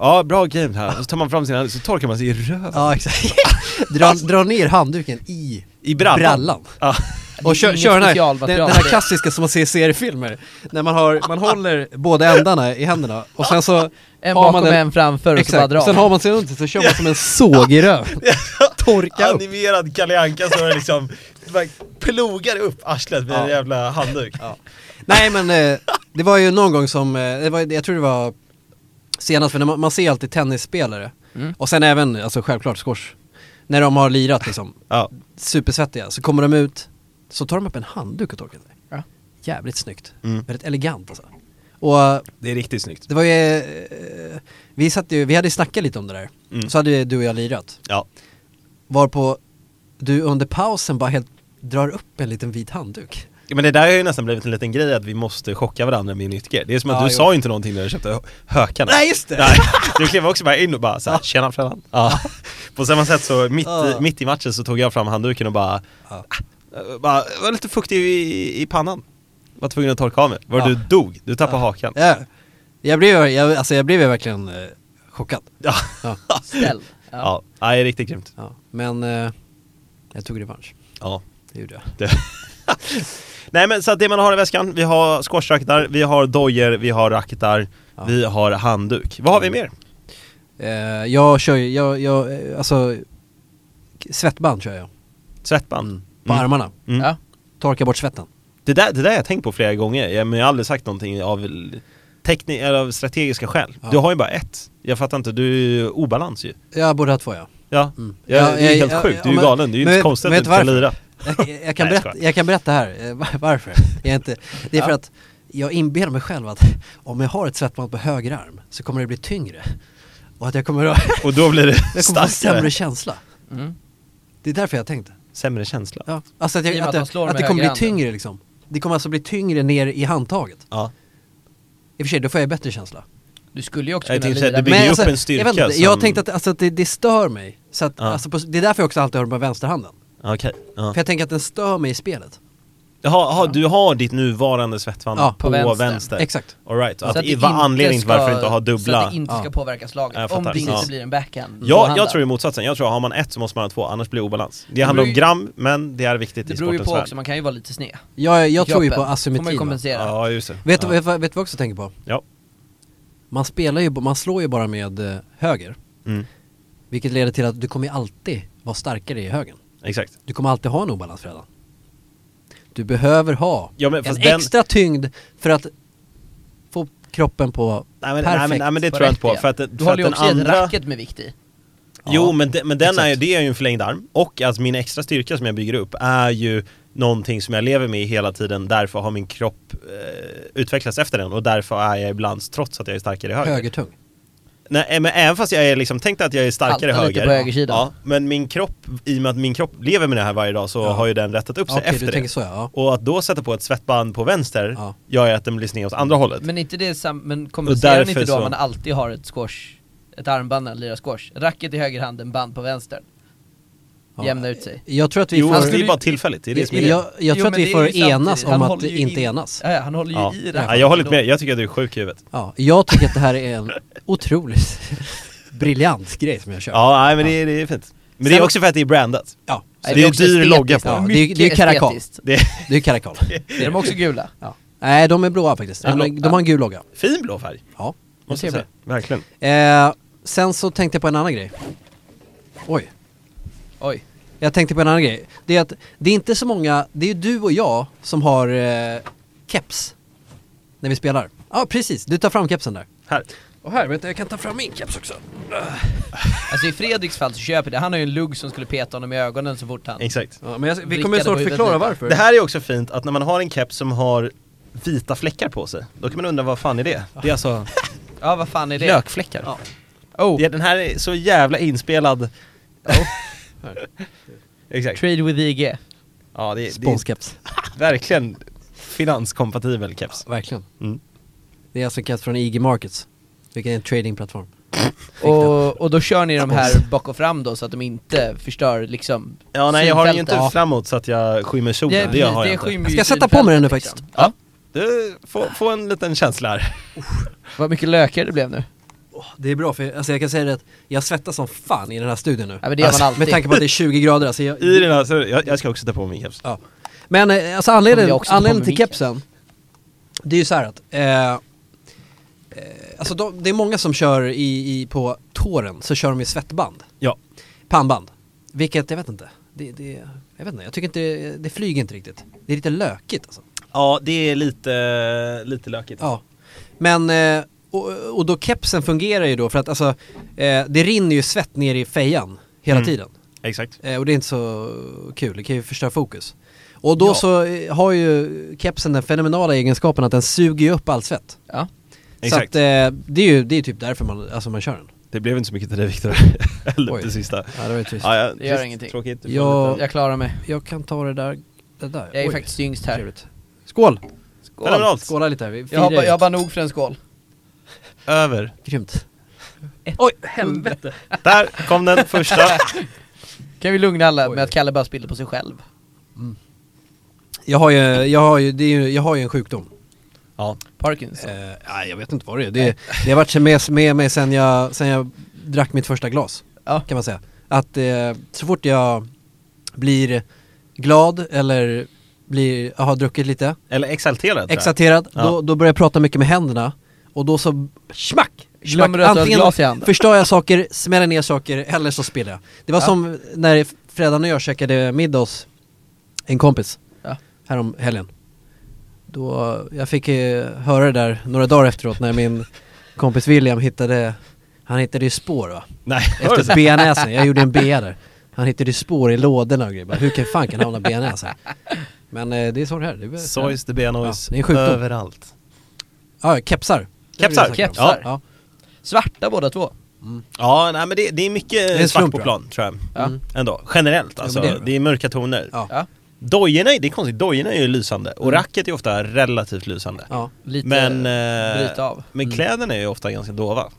[SPEAKER 1] Ja, bra game här, och så tar man fram sin hand, så torkar man sig i röven.
[SPEAKER 2] Ja exakt. [LAUGHS] dra, dra ner handduken i
[SPEAKER 1] I brallan.
[SPEAKER 2] brallan. [LAUGHS]
[SPEAKER 1] Ja.
[SPEAKER 2] Och kör,
[SPEAKER 3] inget
[SPEAKER 2] kör den, här, den,
[SPEAKER 3] specialmaterial.
[SPEAKER 2] den här klassiska som man ser i seriefilmer. När man, har, man håller båda ändarna i händerna och sen så
[SPEAKER 3] En
[SPEAKER 2] har
[SPEAKER 3] bakom
[SPEAKER 2] man
[SPEAKER 3] en framför och så bara
[SPEAKER 2] Exakt,
[SPEAKER 3] dra.
[SPEAKER 2] och sen har man sig runt så kör man som en såg
[SPEAKER 1] [LAUGHS]
[SPEAKER 2] i röven. Torka upp.
[SPEAKER 1] Animerad Kalle Anka som är
[SPEAKER 2] [LAUGHS]
[SPEAKER 1] liksom, bara plogar upp arslet med en
[SPEAKER 2] Ja.
[SPEAKER 1] jävla handduk.
[SPEAKER 2] Nej men eh, det var ju någon gång som, eh, det var, jag tror det var senast, för när man, man ser alltid tennisspelare
[SPEAKER 3] Mm.
[SPEAKER 2] och sen även, alltså självklart squash, när de har lirat liksom,
[SPEAKER 1] Ja.
[SPEAKER 2] supersvettiga, så kommer de ut, så tar de upp en handduk och torkar sig.
[SPEAKER 3] Ja.
[SPEAKER 2] Jävligt snyggt,
[SPEAKER 1] Mm.
[SPEAKER 2] väldigt elegant alltså. Och eh,
[SPEAKER 1] Det är riktigt snyggt.
[SPEAKER 2] det var ju, eh, vi satt ju, vi hade ju snackat lite om det där,
[SPEAKER 1] Mm.
[SPEAKER 2] så hade ju du och jag lirat,
[SPEAKER 1] Ja.
[SPEAKER 2] varpå du under pausen bara helt drar upp en liten vit handduk.
[SPEAKER 1] Ja, Men det där har ju nästan blivit en liten grej att vi måste chocka varandra med nyttigare. Det är som att
[SPEAKER 2] Ja,
[SPEAKER 1] du
[SPEAKER 2] jo.
[SPEAKER 1] sa inte någonting när du köpte hö- hökarna.
[SPEAKER 2] Nej, just det.
[SPEAKER 1] Nej, du klev också bara in och bara såhär, tjena Fredan. Ja. På samma sätt så mitt,
[SPEAKER 2] Ja.
[SPEAKER 1] i, mitt i matchen så tog jag fram handduken och bara,
[SPEAKER 2] Ja.
[SPEAKER 1] äh, bara var lite fuktig i, i pannan. Var tvungen att torka av mig. Var
[SPEAKER 2] Ja.
[SPEAKER 1] du dog, du tappade hakan.
[SPEAKER 2] Ja. Jag blev, jag, alltså jag blev ju verkligen eh, chockad.
[SPEAKER 1] Ja. [LAUGHS]
[SPEAKER 2] Ja.
[SPEAKER 3] Ställ. Ja.
[SPEAKER 1] Ja. ja, det är riktigt grymt.
[SPEAKER 2] Ja. Men eh, jag tog revansch.
[SPEAKER 1] Ja.
[SPEAKER 2] Det gjorde jag.
[SPEAKER 1] Det. [LAUGHS] Nej men så att det man har i väskan, vi har squashracketar, vi har dojer, vi har racketar,
[SPEAKER 2] Ja. Mm.
[SPEAKER 1] vi har handduk. Vad har vi mer?
[SPEAKER 2] Eh, jag kör ju, jag, jag, eh, alltså k- svettband kör jag.
[SPEAKER 1] Svettband.
[SPEAKER 2] På
[SPEAKER 1] Mm.
[SPEAKER 2] armarna.
[SPEAKER 1] Mm.
[SPEAKER 3] Ja.
[SPEAKER 2] Torka bort svetten.
[SPEAKER 1] Det där, det där har jag tänkt på flera gånger, jag, men jag har aldrig sagt någonting av, l- tekni- eller av strategiska skäl.
[SPEAKER 2] Ja.
[SPEAKER 1] Du har ju bara ett. Jag fattar inte, du är ju obalans ju.
[SPEAKER 2] Jag borde ha två ja.
[SPEAKER 1] Ja,
[SPEAKER 2] Mm.
[SPEAKER 1] ja,
[SPEAKER 2] Ja,
[SPEAKER 1] det är
[SPEAKER 2] jag-
[SPEAKER 1] helt
[SPEAKER 2] jag-
[SPEAKER 1] sjukt.
[SPEAKER 2] ja,
[SPEAKER 1] du är ju
[SPEAKER 2] men-
[SPEAKER 1] galen, det är ju
[SPEAKER 2] men
[SPEAKER 1] inte
[SPEAKER 2] vet-
[SPEAKER 1] konstigt
[SPEAKER 2] vet
[SPEAKER 1] att du kan
[SPEAKER 2] varför?
[SPEAKER 1] lira.
[SPEAKER 2] Jag, jag- jag, kan,
[SPEAKER 1] Nej, jag
[SPEAKER 2] berätta,
[SPEAKER 1] skojar.
[SPEAKER 2] jag kan berätta här eh, va- varför. Jag är inte, det är för
[SPEAKER 3] Ja.
[SPEAKER 2] att jag inbillar mig själv att om jag har ett svettband på höger arm så kommer det bli tyngre. Och att jag kommer
[SPEAKER 1] [LAUGHS]
[SPEAKER 2] att [LAUGHS]
[SPEAKER 1] Och då blir det
[SPEAKER 2] jag kommer få sämre
[SPEAKER 1] starkare.
[SPEAKER 2] känsla.
[SPEAKER 3] Mm.
[SPEAKER 2] Det är därför jag tänkte.
[SPEAKER 1] Sämre känsla.
[SPEAKER 2] Ja, alltså att,
[SPEAKER 3] I och
[SPEAKER 2] jag,
[SPEAKER 3] med
[SPEAKER 2] att,
[SPEAKER 3] att
[SPEAKER 2] det-
[SPEAKER 3] de slår
[SPEAKER 2] att det
[SPEAKER 3] med
[SPEAKER 2] kommer bli
[SPEAKER 3] högerhanden.
[SPEAKER 2] tyngre liksom. Det kommer alltså bli tyngre ner i handtaget.
[SPEAKER 1] Ja.
[SPEAKER 2] I och för sig, då får jag bättre känsla.
[SPEAKER 3] Du skulle ju också
[SPEAKER 1] Jag
[SPEAKER 3] kunna
[SPEAKER 1] tänkte säga, det
[SPEAKER 3] lira med...
[SPEAKER 1] blir- ju
[SPEAKER 2] alltså,
[SPEAKER 1] upp en styrka
[SPEAKER 2] jag, vet inte, jag
[SPEAKER 1] som-
[SPEAKER 2] tänkte att alltså, att det, det stör mig. Så att,
[SPEAKER 1] Ja.
[SPEAKER 2] alltså, på, det är därför jag också alltid har den på vänsterhanden.
[SPEAKER 1] Okej. Ja.
[SPEAKER 2] För jag tänker att den stör mig i spelet.
[SPEAKER 1] Jaha, aha, du har ditt nuvarande svettband
[SPEAKER 2] Ja,
[SPEAKER 1] på,
[SPEAKER 3] på
[SPEAKER 1] vänster?
[SPEAKER 3] vänster.
[SPEAKER 2] Exakt.
[SPEAKER 1] Alright, att,
[SPEAKER 3] Så att det
[SPEAKER 1] det var
[SPEAKER 3] inte
[SPEAKER 1] anledningen till varför
[SPEAKER 3] ska-
[SPEAKER 1] du inte har
[SPEAKER 3] Så
[SPEAKER 1] dubbla?
[SPEAKER 3] att det inte ska
[SPEAKER 2] Ja.
[SPEAKER 3] påverka
[SPEAKER 1] Ja, jag
[SPEAKER 3] slaget, om
[SPEAKER 1] fattar.
[SPEAKER 3] det inte
[SPEAKER 1] Ja.
[SPEAKER 3] blir en backhand
[SPEAKER 1] Ja, jag
[SPEAKER 3] tvåhandad.
[SPEAKER 1] tror ju motsatsen. Jag tror har man ett så måste man ha två, annars blir det obalans. Det handlar om
[SPEAKER 3] beror ju-
[SPEAKER 1] gram, men det är viktigt
[SPEAKER 3] Det
[SPEAKER 1] i
[SPEAKER 3] beror ju
[SPEAKER 1] sportens
[SPEAKER 3] på
[SPEAKER 1] värld.
[SPEAKER 3] också, man kan ju vara lite sned
[SPEAKER 2] Jag,
[SPEAKER 3] i
[SPEAKER 2] jag tror ju på
[SPEAKER 3] kroppen. Får man ju
[SPEAKER 2] asymmetri. va?
[SPEAKER 3] kompensera
[SPEAKER 1] Ja, just det.
[SPEAKER 2] Vet,
[SPEAKER 1] ja.
[SPEAKER 2] du vet, vet, vet du vad jag också tänker på?
[SPEAKER 1] Ja.
[SPEAKER 2] Man spelar ju, man slår ju bara med eh, höger.
[SPEAKER 1] Mm.
[SPEAKER 2] Vilket leder till att du kommer ju alltid vara starkare i högen.
[SPEAKER 1] Exakt.
[SPEAKER 2] Du kommer alltid ha en obalans redan. Du behöver ha
[SPEAKER 1] Ja, men
[SPEAKER 2] en
[SPEAKER 1] fast den-
[SPEAKER 2] extra tyngd för att få kroppen på
[SPEAKER 1] Nej men, nej,
[SPEAKER 2] perfekt.
[SPEAKER 1] men, nej, men det
[SPEAKER 3] På
[SPEAKER 1] tror jag inte
[SPEAKER 3] rätt
[SPEAKER 1] på.
[SPEAKER 3] ben.
[SPEAKER 1] För att, det- för
[SPEAKER 3] Du
[SPEAKER 1] att
[SPEAKER 3] håller ju
[SPEAKER 1] den
[SPEAKER 3] också i ett
[SPEAKER 1] andra...
[SPEAKER 3] racket med vikt i
[SPEAKER 2] Ja,
[SPEAKER 1] Jo men, de, men den är, ju-
[SPEAKER 2] exakt.
[SPEAKER 1] det är ju en förlängd arm. Och alltså min extra styrka som jag bygger upp är ju någonting som jag lever med hela tiden, därför har min kropp eh, utvecklats efter den och därför är jag ibland, trots att jag är starkare i höger.
[SPEAKER 2] Högertung.
[SPEAKER 1] Nej eh, men även fast jag är liksom, tänk dig att jag är starkare
[SPEAKER 3] Haltar
[SPEAKER 1] höger.
[SPEAKER 3] lite på högersidan.
[SPEAKER 1] Ja, men min kropp, i och med att min kropp lever med det här varje dag så
[SPEAKER 2] Ja.
[SPEAKER 1] har ju den rättat upp sig
[SPEAKER 2] Ja, Okej,
[SPEAKER 1] efter
[SPEAKER 2] du
[SPEAKER 1] det.
[SPEAKER 2] tänker så ja.
[SPEAKER 1] Och att då sätta på ett svettband på vänster
[SPEAKER 2] Ja.
[SPEAKER 1] gör ju att den blir sned åt andra hållet.
[SPEAKER 3] Men inte det sam- men kompenserar ni
[SPEAKER 1] därför
[SPEAKER 3] inte då om
[SPEAKER 1] så-
[SPEAKER 3] man alltid har ett squash, ett armband när man lirar squash? Racket i höger handen, band på vänster.
[SPEAKER 2] ja.
[SPEAKER 3] Jämna ut sig.
[SPEAKER 2] Jag tror att vi
[SPEAKER 1] jo,
[SPEAKER 2] får...
[SPEAKER 1] fast det är ju bara tillfälligt, det är det som är
[SPEAKER 2] jag,
[SPEAKER 1] grejen.
[SPEAKER 2] jag, jag
[SPEAKER 3] Jo,
[SPEAKER 2] tror
[SPEAKER 3] men
[SPEAKER 2] att vi
[SPEAKER 3] det
[SPEAKER 2] får
[SPEAKER 3] är ju
[SPEAKER 2] enas
[SPEAKER 3] samtidigt.
[SPEAKER 2] om
[SPEAKER 3] Han
[SPEAKER 2] att
[SPEAKER 3] håller ju
[SPEAKER 2] inte
[SPEAKER 3] in-
[SPEAKER 2] enas.
[SPEAKER 3] Ja, ja, han håller ju
[SPEAKER 1] Ja.
[SPEAKER 3] i det
[SPEAKER 1] Ja, jag håller inte med, jag tycker att du är sjuk i huvudet.
[SPEAKER 2] Ja, jag tycker att det här är en otroligt [LAUGHS] briljant grej som jag kör.
[SPEAKER 1] Ja, nej men det, är- det är fint. Men det är
[SPEAKER 3] Sen-
[SPEAKER 1] också för att det är brandat.
[SPEAKER 2] ja.
[SPEAKER 1] Så det är en dyr logga på.
[SPEAKER 2] Ja,
[SPEAKER 1] den.
[SPEAKER 2] det är- det är karakol.
[SPEAKER 1] Det är
[SPEAKER 2] Det
[SPEAKER 1] [LAUGHS]
[SPEAKER 2] är karakal.
[SPEAKER 3] Är de också gula?
[SPEAKER 2] Ja. Nej, de är blåa faktiskt.
[SPEAKER 1] Ja,
[SPEAKER 2] De,
[SPEAKER 1] blå.
[SPEAKER 2] de har en gul logga.
[SPEAKER 1] fin blå färg,
[SPEAKER 2] Ja, det är
[SPEAKER 1] måste jag säga.
[SPEAKER 2] trevligt.
[SPEAKER 1] Verkligen.
[SPEAKER 2] Eh, sen så tänkte jag på en annan grej. Oj.
[SPEAKER 3] Oj.
[SPEAKER 2] Jag tänkte på en annan grej. Det är att det är inte så många, det är ju du och jag som har eh, keps. När vi spelar. Ja, precis. Du tar fram kepsen där.
[SPEAKER 1] Här.
[SPEAKER 2] Och här, vänta jag kan ta fram min keps också.
[SPEAKER 3] Alltså i Fredriks fall så köper det, han har ju en lugg som skulle peta honom i ögonen så fort han...
[SPEAKER 1] Exakt.
[SPEAKER 2] Ja, men jag, vi
[SPEAKER 3] Vrickade
[SPEAKER 2] kommer ju
[SPEAKER 3] på
[SPEAKER 2] snart
[SPEAKER 3] huvudet
[SPEAKER 2] förklara
[SPEAKER 3] lite.
[SPEAKER 2] varför.
[SPEAKER 1] Det här är också fint att när man har en keps som har vita fläckar på sig, då kan man undra vad fan är det? Det är alltså
[SPEAKER 3] [LAUGHS] Ja vad fan är det?
[SPEAKER 1] lökfläckar.
[SPEAKER 3] Ja. Oh,
[SPEAKER 1] Ja, den här är så jävla inspelad. Exakt.
[SPEAKER 3] trade with IG.
[SPEAKER 1] Ja, det, det är
[SPEAKER 2] Sponskeps.
[SPEAKER 1] [LAUGHS] verkligen finanskompatibel keps.
[SPEAKER 2] Verkligen.
[SPEAKER 1] Mm.
[SPEAKER 2] Det är alltså en keps från IG Markets. Vilken är en tradingplattform.
[SPEAKER 3] Och, och då kör ni de här bak och fram då så att de inte förstör liksom
[SPEAKER 1] Ja, nej jag har den ju inte
[SPEAKER 3] synfältet.
[SPEAKER 1] framåt så att jag skymmer solen.
[SPEAKER 3] Ja,
[SPEAKER 1] det
[SPEAKER 3] precis,
[SPEAKER 1] har jag
[SPEAKER 3] det
[SPEAKER 1] inte.
[SPEAKER 3] skymmer
[SPEAKER 2] Jag
[SPEAKER 3] ju
[SPEAKER 2] ska sätta på mig den nu
[SPEAKER 3] synfältet,
[SPEAKER 2] faktiskt.
[SPEAKER 3] liksom.
[SPEAKER 1] Ja. Du, få, få en liten känsla här.
[SPEAKER 3] Vad mycket lökigare det blev nu.
[SPEAKER 2] Åh, det är bra för alltså jag kan säga det att jag svettas som fan i den här studion nu. Alltså,
[SPEAKER 3] Ja, men det gör man alltid.
[SPEAKER 2] Med tanke på att det är 20 grader alltså jag,
[SPEAKER 1] I den här, så, jag, jag ska också ta på mig keps.
[SPEAKER 2] ja. Men eh, alltså
[SPEAKER 3] Om jag
[SPEAKER 2] anledningen,
[SPEAKER 3] också tar på
[SPEAKER 2] anledningen
[SPEAKER 3] mig
[SPEAKER 2] till kepsen, det är ju så här att eh, eh, Alltså de, det är många som kör i, i, på tåren, så kör de i svettband,
[SPEAKER 1] Ja.
[SPEAKER 2] pannband. Vilket, jag vet inte, det, det, jag vet inte, jag tycker inte, det flyger inte riktigt. Det är lite lökigt alltså.
[SPEAKER 1] Ja, det är lite, lite lökigt.
[SPEAKER 2] Ja. Men, eh, och, och då kepsen fungerar ju då för att alltså, eh, det rinner ju svett ner i fejan hela
[SPEAKER 1] Mm.
[SPEAKER 2] tiden.
[SPEAKER 1] Exakt.
[SPEAKER 2] Eh, och det är inte så kul, det kan ju förstöra fokus. Och då
[SPEAKER 3] Ja.
[SPEAKER 2] så eh, har ju kepsen den fenomenala egenskapen att den suger ju upp all svett.
[SPEAKER 3] Ja.
[SPEAKER 1] Exakt.
[SPEAKER 2] Så att eh, det är ju det är ju typ därför man, alltså man kör den.
[SPEAKER 1] Det blev inte så mycket till dig
[SPEAKER 2] [LAUGHS]
[SPEAKER 1] Viktor. Eller
[SPEAKER 2] Oj.
[SPEAKER 1] det sista.
[SPEAKER 2] Ja, det var ju trist.
[SPEAKER 1] Ja, ja,
[SPEAKER 3] Det gör
[SPEAKER 1] trist,
[SPEAKER 3] ingenting.
[SPEAKER 1] Tråkigt. Du får
[SPEAKER 2] Ja.
[SPEAKER 1] lite-
[SPEAKER 3] Jag klarar mig.
[SPEAKER 2] Jag kan ta det där, det där.
[SPEAKER 3] Jag är
[SPEAKER 2] Oj,
[SPEAKER 3] faktiskt yngst här.
[SPEAKER 2] Trevligt. Skål!
[SPEAKER 3] Skål.
[SPEAKER 1] Fenomenalt.
[SPEAKER 2] Skåla lite här, vi
[SPEAKER 3] Jag
[SPEAKER 2] firar
[SPEAKER 3] har, ba-
[SPEAKER 2] ju.
[SPEAKER 3] jag har bara nog för en skål.
[SPEAKER 1] Över.
[SPEAKER 2] Grymt.
[SPEAKER 3] Oj, helvete.
[SPEAKER 1] Där kom den
[SPEAKER 2] [LAUGHS]
[SPEAKER 1] första.
[SPEAKER 3] Kan vi lugna alla
[SPEAKER 2] Oj.
[SPEAKER 3] med att Kalle bara spiller på sig själv?
[SPEAKER 2] Jag har ju, jag har ju, det är ju, jag har ju en sjukdom.
[SPEAKER 1] ja.
[SPEAKER 3] Parkinson.
[SPEAKER 2] Eh, nej, jag vet inte vad det är. Det, det har varit med, med mig sen jag, sen jag drack mitt första glas,
[SPEAKER 3] Ja.
[SPEAKER 2] kan man säga. Att eh, så fort jag blir glad eller blir, har druckit lite,
[SPEAKER 1] Eller exalterad. tror jag.
[SPEAKER 2] exalterad,
[SPEAKER 1] Ja.
[SPEAKER 2] då, då börjar jag prata mycket med händerna och då så smack!
[SPEAKER 3] Glömmer
[SPEAKER 2] smack.
[SPEAKER 3] du att du har ett glas i handen?
[SPEAKER 2] förstör jag saker, smäller ner saker eller så spiller jag. Det var
[SPEAKER 3] Ja.
[SPEAKER 2] som när Fredan och jag käkade middag hos en kompis
[SPEAKER 3] Ja.
[SPEAKER 2] härom helgen. Då, jag fick eh, höra det där några dagar efteråt när min kompis William hittade, han hittade ju spår va?
[SPEAKER 1] Nej, hör du?
[SPEAKER 2] Efter benäsen, jag gjorde en BA där. Han hittade ju spår i lådorna och grejer. Bara, Hur kan fan kan hamna benäs här? Men eh, det är så det här. Det är,
[SPEAKER 1] Soys the
[SPEAKER 2] Ja,
[SPEAKER 1] Benois
[SPEAKER 2] det är en sjukdom.
[SPEAKER 1] överallt.
[SPEAKER 2] Ja, kepsar. Det är det
[SPEAKER 1] Kepsar,
[SPEAKER 2] jag snackar om.
[SPEAKER 1] kepsar.
[SPEAKER 2] Ja.
[SPEAKER 3] Svarta båda två.
[SPEAKER 1] Ja, nej men det, det är mycket
[SPEAKER 2] är en
[SPEAKER 1] svart
[SPEAKER 2] slump,
[SPEAKER 1] på
[SPEAKER 2] ja.
[SPEAKER 1] plan tror jag.
[SPEAKER 3] Ja.
[SPEAKER 2] Mm.
[SPEAKER 1] Ändå, generellt alltså.
[SPEAKER 2] men
[SPEAKER 1] det,
[SPEAKER 2] det är
[SPEAKER 1] är
[SPEAKER 2] det.
[SPEAKER 1] mörka toner.
[SPEAKER 2] Ja. Mm.
[SPEAKER 3] Ja.
[SPEAKER 1] Dojorna, är- det är konstigt, dojorna är ju lysande och racket är ofta relativt lysande.
[SPEAKER 2] Ja.
[SPEAKER 3] Lite
[SPEAKER 1] Men,
[SPEAKER 3] bryta
[SPEAKER 1] eh,
[SPEAKER 3] av.
[SPEAKER 1] men
[SPEAKER 2] Mm.
[SPEAKER 1] kläderna är ju ofta ganska dova.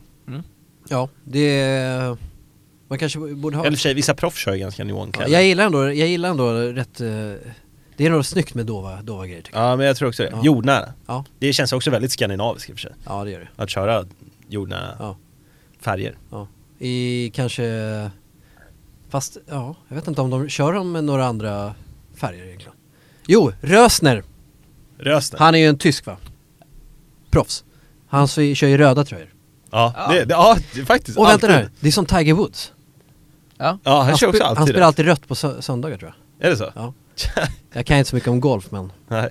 [SPEAKER 2] ja, det är, Man kanske borde ha...
[SPEAKER 1] Eller i och för sig, vissa proffs kör ju ganska
[SPEAKER 2] Ja,
[SPEAKER 1] neonkläder. Ja,
[SPEAKER 2] jag gillar ändå, jag gillar ändå rätt... eh, Det är något snyggt med dova, dova grejer tycker jag.
[SPEAKER 1] men jag tror också det.
[SPEAKER 2] Ja.
[SPEAKER 1] Jordnära.
[SPEAKER 2] Ja.
[SPEAKER 1] Det känns också väldigt skandinaviskt i och för sig.
[SPEAKER 2] Ja, det gör det.
[SPEAKER 1] Att köra jordnära
[SPEAKER 2] Ja.
[SPEAKER 1] färger.
[SPEAKER 2] Ja. I kanske... Fast, ja, jag vet inte om de kör dem med några andra färger egentligen. Jo, Rösner.
[SPEAKER 1] Rösner.
[SPEAKER 2] Han är ju en tysk va? Proffs. Han så- kör ju röda tröjor.
[SPEAKER 1] Ja,
[SPEAKER 3] Ja.
[SPEAKER 1] det, det, ja det, faktiskt.
[SPEAKER 2] Och vänta
[SPEAKER 1] alltid.
[SPEAKER 2] nu, det är som Tiger Woods.
[SPEAKER 3] Ja.
[SPEAKER 1] Ja, han, kör
[SPEAKER 2] spe-
[SPEAKER 1] också alltid
[SPEAKER 2] han spelar
[SPEAKER 1] det.
[SPEAKER 2] alltid rött på sö- söndagar tror jag.
[SPEAKER 1] Är det så?
[SPEAKER 2] Ja. Jag kan inte så mycket om golf men
[SPEAKER 1] [LAUGHS] Nej.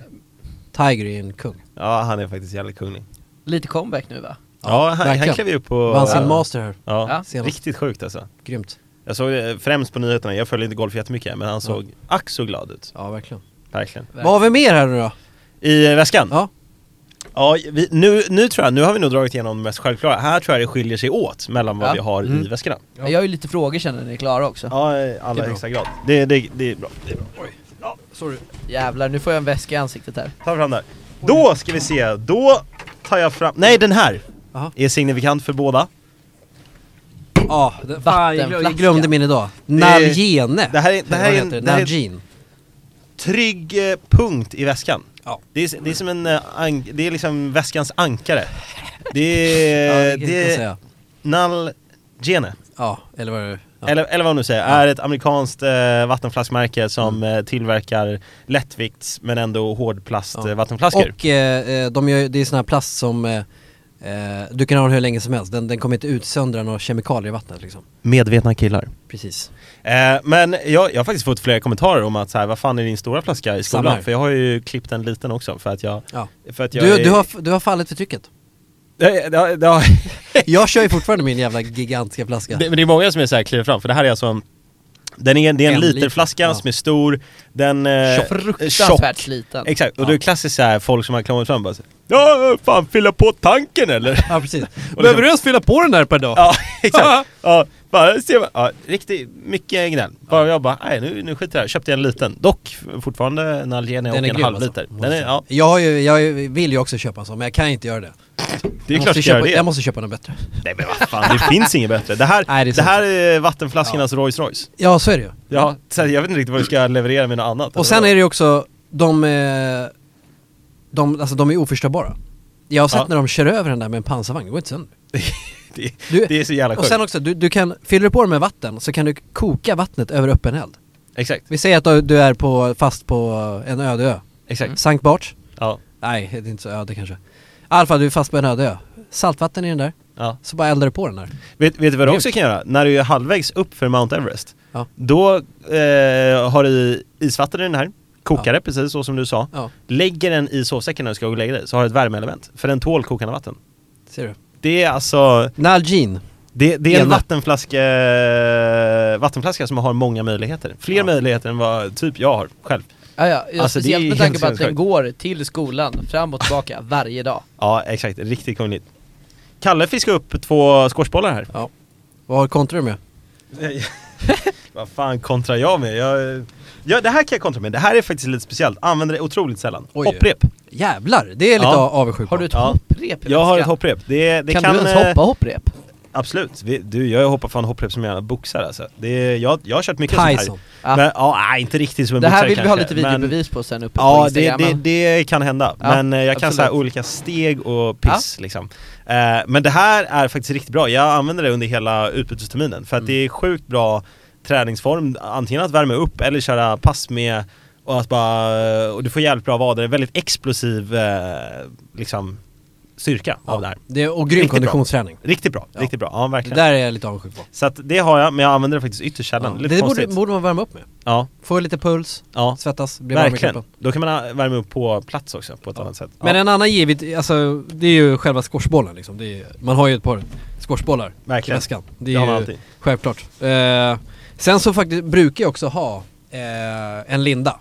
[SPEAKER 2] Tiger är en kung.
[SPEAKER 1] Ja, han är faktiskt jävligt kunglig.
[SPEAKER 3] Lite comeback nu va?
[SPEAKER 1] Ja, han, han
[SPEAKER 2] verkligen.
[SPEAKER 1] klev ju upp på...
[SPEAKER 2] Vann sin
[SPEAKER 1] ja.
[SPEAKER 2] master här,
[SPEAKER 1] Ja,
[SPEAKER 3] Ja.
[SPEAKER 2] Senast.
[SPEAKER 1] riktigt sjukt alltså. eh,
[SPEAKER 2] grymt.
[SPEAKER 1] Jag såg det främst på nyheterna, jag följer inte golf jättemycket men han såg ack så glad ut.
[SPEAKER 2] Ja verkligen.
[SPEAKER 1] verkligen.
[SPEAKER 2] Vad har vi mer här nu då?
[SPEAKER 1] I eh, väskan?
[SPEAKER 2] Ja.
[SPEAKER 1] Ja, vi, nu, nu tror jag, nu har vi nog dragit igenom det mest självklara. Här tror jag det skiljer sig åt mellan vad
[SPEAKER 3] Ja.
[SPEAKER 1] vi har i
[SPEAKER 2] Mm.
[SPEAKER 1] väskorna.
[SPEAKER 3] Ja. Jag har ju lite frågor känner ni är klara också.
[SPEAKER 1] Ja, i
[SPEAKER 2] Det
[SPEAKER 1] alla
[SPEAKER 2] är bra.
[SPEAKER 1] högsta grad. Det, det, det är bra. Det är bra.
[SPEAKER 2] Sorry.
[SPEAKER 3] Jävlar, nu får jag en väska i ansiktet här.
[SPEAKER 1] Ta fram där. Då ska vi se, då tar jag fram, nej den här!
[SPEAKER 2] Aha.
[SPEAKER 1] Är signifikant för båda.
[SPEAKER 2] Ja, det- fan, jag glöm- jag
[SPEAKER 3] Vattenflaska.
[SPEAKER 2] glömde min idag. Nalgene.
[SPEAKER 1] det här är- det här
[SPEAKER 2] Vad
[SPEAKER 1] är en-
[SPEAKER 2] heter det?
[SPEAKER 1] det här är-
[SPEAKER 2] Nalgene.
[SPEAKER 1] Trygg eh, punkt i väskan.
[SPEAKER 2] Ja.
[SPEAKER 1] Det, är, det är som en, eh, ank- det är liksom väskans ankare. Det är,
[SPEAKER 2] ja, det, kan
[SPEAKER 1] Eh, det
[SPEAKER 2] jag
[SPEAKER 1] är
[SPEAKER 2] säga.
[SPEAKER 1] Nalgene.
[SPEAKER 2] Ja, eller vad är det? Ja. Mm.
[SPEAKER 1] Eller, eller vad man nu säger, är ett amerikanskt eh, vattenflaskmärke som eh, tillverkar lättvikts men ändå hårdplast
[SPEAKER 2] Ja.
[SPEAKER 1] eh, vattenflaskor.
[SPEAKER 2] Och eh, eh, de gör, det är sån här plast som eh, eh, du kan ha den hur länge som helst. Den, den kommer inte utsöndra några kemikalier i vattnet liksom.
[SPEAKER 1] Medvetna killar.
[SPEAKER 2] Precis.
[SPEAKER 1] Eh, men jag, jag har faktiskt fått flera kommentarer om att så här, vad fan är din stora flaska i skolan?
[SPEAKER 2] Samma här.
[SPEAKER 1] För jag har ju klippt en liten också för att jag...
[SPEAKER 2] Ja.
[SPEAKER 1] För att jag
[SPEAKER 2] Du,
[SPEAKER 1] är-
[SPEAKER 2] du, har, f- du har fallit för trycket.
[SPEAKER 1] Eh, det- det har-
[SPEAKER 2] Jag kör ju fortfarande min jävla gigantiska flaska.
[SPEAKER 1] Det, men det är många som är så här kliver fram, för det här är alltså en den är, det är en,
[SPEAKER 2] En
[SPEAKER 1] literflaska
[SPEAKER 2] liter, ja.
[SPEAKER 1] som är stor, den... eh,
[SPEAKER 3] Tjock. Fruktansvärt sliten.
[SPEAKER 1] Exakt, och
[SPEAKER 2] Ja.
[SPEAKER 1] det är klassiskt så här folk som har klamrat fram bara så, Ja, fan fylla på tanken eller?
[SPEAKER 2] Ja precis.
[SPEAKER 1] liksom-
[SPEAKER 2] ens fylla på den där per dag?
[SPEAKER 1] Ja, [LAUGHS] exakt. ja, bara, ser man, ja, riktigt mycket gnäll. Bara, jag bara, nej nu, nu skiter jag i det här. Köpte jag en liten. Dock fortfarande en Algenia och
[SPEAKER 2] Den är
[SPEAKER 1] en
[SPEAKER 2] grym
[SPEAKER 1] halv
[SPEAKER 2] alltså.
[SPEAKER 1] liter. Den är, ja,
[SPEAKER 2] Jag, har ju, jag vill ju också köpa en sån men jag kan inte göra det.
[SPEAKER 1] det är
[SPEAKER 2] jag,
[SPEAKER 1] klart
[SPEAKER 2] måste
[SPEAKER 1] jag gör
[SPEAKER 2] köpa,
[SPEAKER 1] det.
[SPEAKER 2] jag måste köpa något bättre.
[SPEAKER 1] Nej men vad fan, det finns inget bättre. Det här,
[SPEAKER 2] Nej, det är
[SPEAKER 1] det
[SPEAKER 2] sant.
[SPEAKER 1] här är vattenflaskornas Rolls Royce.
[SPEAKER 2] Ja så är det ju.
[SPEAKER 1] Ja, så jag vet inte riktigt vad du ska leverera med något annat. Alltså,
[SPEAKER 2] Och sen är det ju också, de, eh, de, alltså, de är oförstörbara. Jag har sett
[SPEAKER 1] Ja.
[SPEAKER 2] när de kör över den där med en pansarvagn, det går inte sönder.
[SPEAKER 1] det,
[SPEAKER 2] Du-
[SPEAKER 1] det är så jävla
[SPEAKER 2] Och
[SPEAKER 1] sjukt.
[SPEAKER 2] sen också, du, du kan, fyller du på den med vatten så kan du koka vattnet över öppen eld.
[SPEAKER 1] Exakt,
[SPEAKER 2] Vi säger att du, du är på, fast på en öde ö. Mm.
[SPEAKER 1] exakt.
[SPEAKER 2] Sankt Barts?
[SPEAKER 1] Ja,
[SPEAKER 2] Nej, det är inte så öde kanske. I alla fall, du är fast på en öde ö. Saltvatten i den där,
[SPEAKER 1] ja.
[SPEAKER 2] så bara eldar du på den där.
[SPEAKER 1] Vet, vet du vad du också kan göra? När du är halvvägs upp för Mount Everest,
[SPEAKER 2] Ja.
[SPEAKER 1] då eh, har du i isvatten i den här, kokar det precis så som du sa.
[SPEAKER 2] Ja,
[SPEAKER 1] Lägger den i sovsäcken när du ska gå och lägga dig, så har du ett värmeelement. För den tål kokande vatten.
[SPEAKER 2] ser du.
[SPEAKER 1] Det är alltså,
[SPEAKER 2] Nalgene.
[SPEAKER 1] det, det är en
[SPEAKER 2] Gärna.
[SPEAKER 1] vattenflaska, vattenflaska som har många möjligheter. Fler
[SPEAKER 2] Ja.
[SPEAKER 1] möjligheter än vad typ jag har själv.
[SPEAKER 3] Ja, ja, ja,
[SPEAKER 1] Alltså, det är
[SPEAKER 3] speciellt med
[SPEAKER 1] helt
[SPEAKER 3] tanke på att den
[SPEAKER 1] sinnessjukt.
[SPEAKER 3] går till skolan, fram
[SPEAKER 1] [LAUGHS]
[SPEAKER 3] och tillbaka, varje dag.
[SPEAKER 1] Ja, exakt. Riktigt kungligt. Kalle fiskade upp två squashbollar här.
[SPEAKER 2] Ja. Vad har kontrar du med?
[SPEAKER 1] Nej. [LAUGHS] Vad fan kontrar jag med? Jag, ja, det här kan jag kontra med. Det här är faktiskt lite speciellt. Använder det otroligt sällan.
[SPEAKER 2] Oj.
[SPEAKER 1] Hopprep.
[SPEAKER 2] Jävlar, det är lite
[SPEAKER 1] Ja.
[SPEAKER 2] ja. avundsjuk
[SPEAKER 3] Har
[SPEAKER 2] på.
[SPEAKER 3] du ett
[SPEAKER 1] Ja.
[SPEAKER 3] hopprep i
[SPEAKER 1] Jag har ett
[SPEAKER 3] väskan?
[SPEAKER 1] hopprep. Det, det
[SPEAKER 3] kan,
[SPEAKER 1] kan,
[SPEAKER 3] du ens
[SPEAKER 1] eh,
[SPEAKER 3] hoppa hopprep?
[SPEAKER 1] Absolut. Vi, du, jag hoppar fan hopprep som en jävla boxare alltså. det, är- jag, jag har kört mycket
[SPEAKER 2] Tyson.
[SPEAKER 1] sånt här.
[SPEAKER 3] Ja.
[SPEAKER 1] Men, ja, nej, inte riktigt som en
[SPEAKER 3] Det här
[SPEAKER 1] boxare
[SPEAKER 3] vill vi ha
[SPEAKER 1] kanske,
[SPEAKER 3] lite
[SPEAKER 1] men-
[SPEAKER 3] videobevis på sen uppe på
[SPEAKER 1] Ja, det,
[SPEAKER 3] Instagram.
[SPEAKER 1] det, det kan hända.
[SPEAKER 3] Ja,
[SPEAKER 1] men eh, jag kan
[SPEAKER 3] absolut.
[SPEAKER 1] säga olika steg och piss liksom. Eh, men det här är faktiskt riktigt bra. Jag använder det under hela utbytesterminen för att
[SPEAKER 2] Mm.
[SPEAKER 1] det är sjukt bra träningsform. Antingen att värma upp eller köra pass med och att bara, och du får jävligt bra vader. En väldigt explosiv eh, liksom styrka av det här.
[SPEAKER 2] Det är, och grym
[SPEAKER 1] Riktigt bra.
[SPEAKER 2] konditionsträning.
[SPEAKER 1] Riktigt bra,
[SPEAKER 2] Ja.
[SPEAKER 1] riktigt bra. Ja,
[SPEAKER 2] Det
[SPEAKER 1] verkligen.
[SPEAKER 2] där är jag lite avundsjuk på.
[SPEAKER 1] Så att det har jag, men jag använder det faktiskt ytterst sällan.
[SPEAKER 2] Ja.
[SPEAKER 1] Lite
[SPEAKER 2] Det borde,
[SPEAKER 1] konstigt.
[SPEAKER 2] borde man värma upp med.
[SPEAKER 1] ja,
[SPEAKER 2] Få lite puls,
[SPEAKER 1] ja.
[SPEAKER 2] svettas, bli varm i
[SPEAKER 1] Verkligen.
[SPEAKER 2] kroppen.
[SPEAKER 1] Då kan man eh, värma upp på plats också på ett annat sätt.
[SPEAKER 2] Men
[SPEAKER 1] ja,
[SPEAKER 2] en annan givet, alltså det är ju själva squashbollen liksom. Det är, ju- man har ju ett par squashbollar i
[SPEAKER 1] verkligen.
[SPEAKER 2] väskan.
[SPEAKER 1] Det
[SPEAKER 2] Det
[SPEAKER 1] har man
[SPEAKER 2] är ju
[SPEAKER 1] alltid.
[SPEAKER 2] självklart. Eh, sen så faktiskt brukar jag också ha eh, en linda.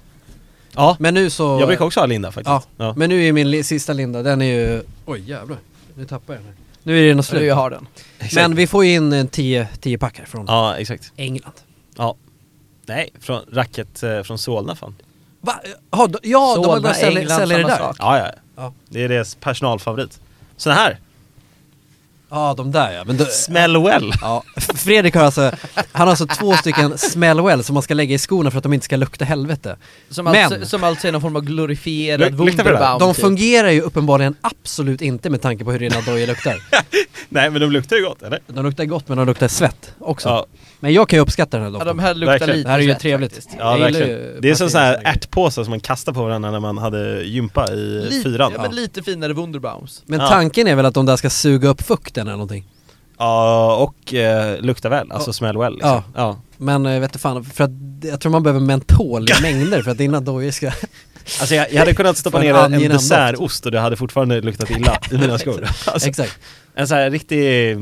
[SPEAKER 1] Ja,
[SPEAKER 2] Men nu så...
[SPEAKER 1] jag brukar också ha linda faktiskt.
[SPEAKER 2] Ja,
[SPEAKER 1] Ja.
[SPEAKER 2] men nu är min li- sista linda, den är ju... Oj jävlar, nu tappar jag den här. Nu är den
[SPEAKER 3] Du,
[SPEAKER 2] slut.
[SPEAKER 3] jag har den.
[SPEAKER 2] Men vi får ju in eh, en 10 10 pack här från
[SPEAKER 1] Ja, exakt.
[SPEAKER 2] England.
[SPEAKER 1] Ja. Nej, från racket eh, från Solna fan.
[SPEAKER 2] Va? Ja, d- ja de har
[SPEAKER 3] Solna,
[SPEAKER 2] börjat sälja,
[SPEAKER 3] England,
[SPEAKER 2] sälja det
[SPEAKER 3] samma
[SPEAKER 2] där?
[SPEAKER 3] sak.
[SPEAKER 1] Ja, ja.
[SPEAKER 2] Ja.
[SPEAKER 1] Det är deras personalfavorit. Sån här,
[SPEAKER 2] Ja, de där ja. Men då,
[SPEAKER 1] smell well. [LAUGHS]
[SPEAKER 2] ja. Fredrik har alltså, han har alltså två stycken smellwell som man ska lägga i skorna för att de inte ska lukta helvete.
[SPEAKER 3] Som,
[SPEAKER 2] Men-
[SPEAKER 3] alltså, som alltså är någon form av glorifierad
[SPEAKER 1] Luk- luktar på det där.
[SPEAKER 3] wunderbaum.
[SPEAKER 2] De
[SPEAKER 3] typ.
[SPEAKER 2] fungerar ju uppenbarligen absolut inte med tanke på hur dina dojor luktar.
[SPEAKER 1] Nej men de luktar ju gott, eller?
[SPEAKER 2] De luktar gott men de luktar svett också.
[SPEAKER 1] Ja,
[SPEAKER 2] Men jag kan ju uppskatta den här
[SPEAKER 3] Ja,
[SPEAKER 2] doften.
[SPEAKER 3] de här luktar
[SPEAKER 1] Verkligen.
[SPEAKER 3] lite
[SPEAKER 2] det här är ju
[SPEAKER 3] svett
[SPEAKER 2] trevligt.
[SPEAKER 3] faktiskt.
[SPEAKER 1] ja
[SPEAKER 2] Jag gillar
[SPEAKER 1] verkligen.
[SPEAKER 2] ju
[SPEAKER 1] Det är som
[SPEAKER 2] parfym
[SPEAKER 1] sån här
[SPEAKER 2] såna grejer.
[SPEAKER 1] ärtpåsar som man kastar på varandra när man hade gympa i
[SPEAKER 3] Lite,
[SPEAKER 1] Eh, fyran.
[SPEAKER 3] ja,
[SPEAKER 1] Ja,
[SPEAKER 3] men lite finare wunderbaums.
[SPEAKER 2] Men
[SPEAKER 1] Ja.
[SPEAKER 2] tanken är väl att de där ska suga upp fukten eller någonting.
[SPEAKER 1] och eh, lukta väl, alltså
[SPEAKER 2] Ja.
[SPEAKER 1] smell well liksom.
[SPEAKER 2] Ja.
[SPEAKER 1] ja.
[SPEAKER 2] Men eh, vet du fan, för att jag tror man behöver mentol
[SPEAKER 1] [LAUGHS]
[SPEAKER 2] i mängder för att dina dojor ska...
[SPEAKER 1] Alltså jag, jag hade kunnat stoppa
[SPEAKER 2] För en
[SPEAKER 1] ner en,
[SPEAKER 2] angenäm
[SPEAKER 1] en
[SPEAKER 2] doft.
[SPEAKER 1] dessertost och det
[SPEAKER 2] [LAUGHS]
[SPEAKER 3] [LAUGHS]
[SPEAKER 1] Alltså, hade fortfarande luktat illa i mina skor. Alltså,
[SPEAKER 2] Exakt.
[SPEAKER 1] en sån här riktig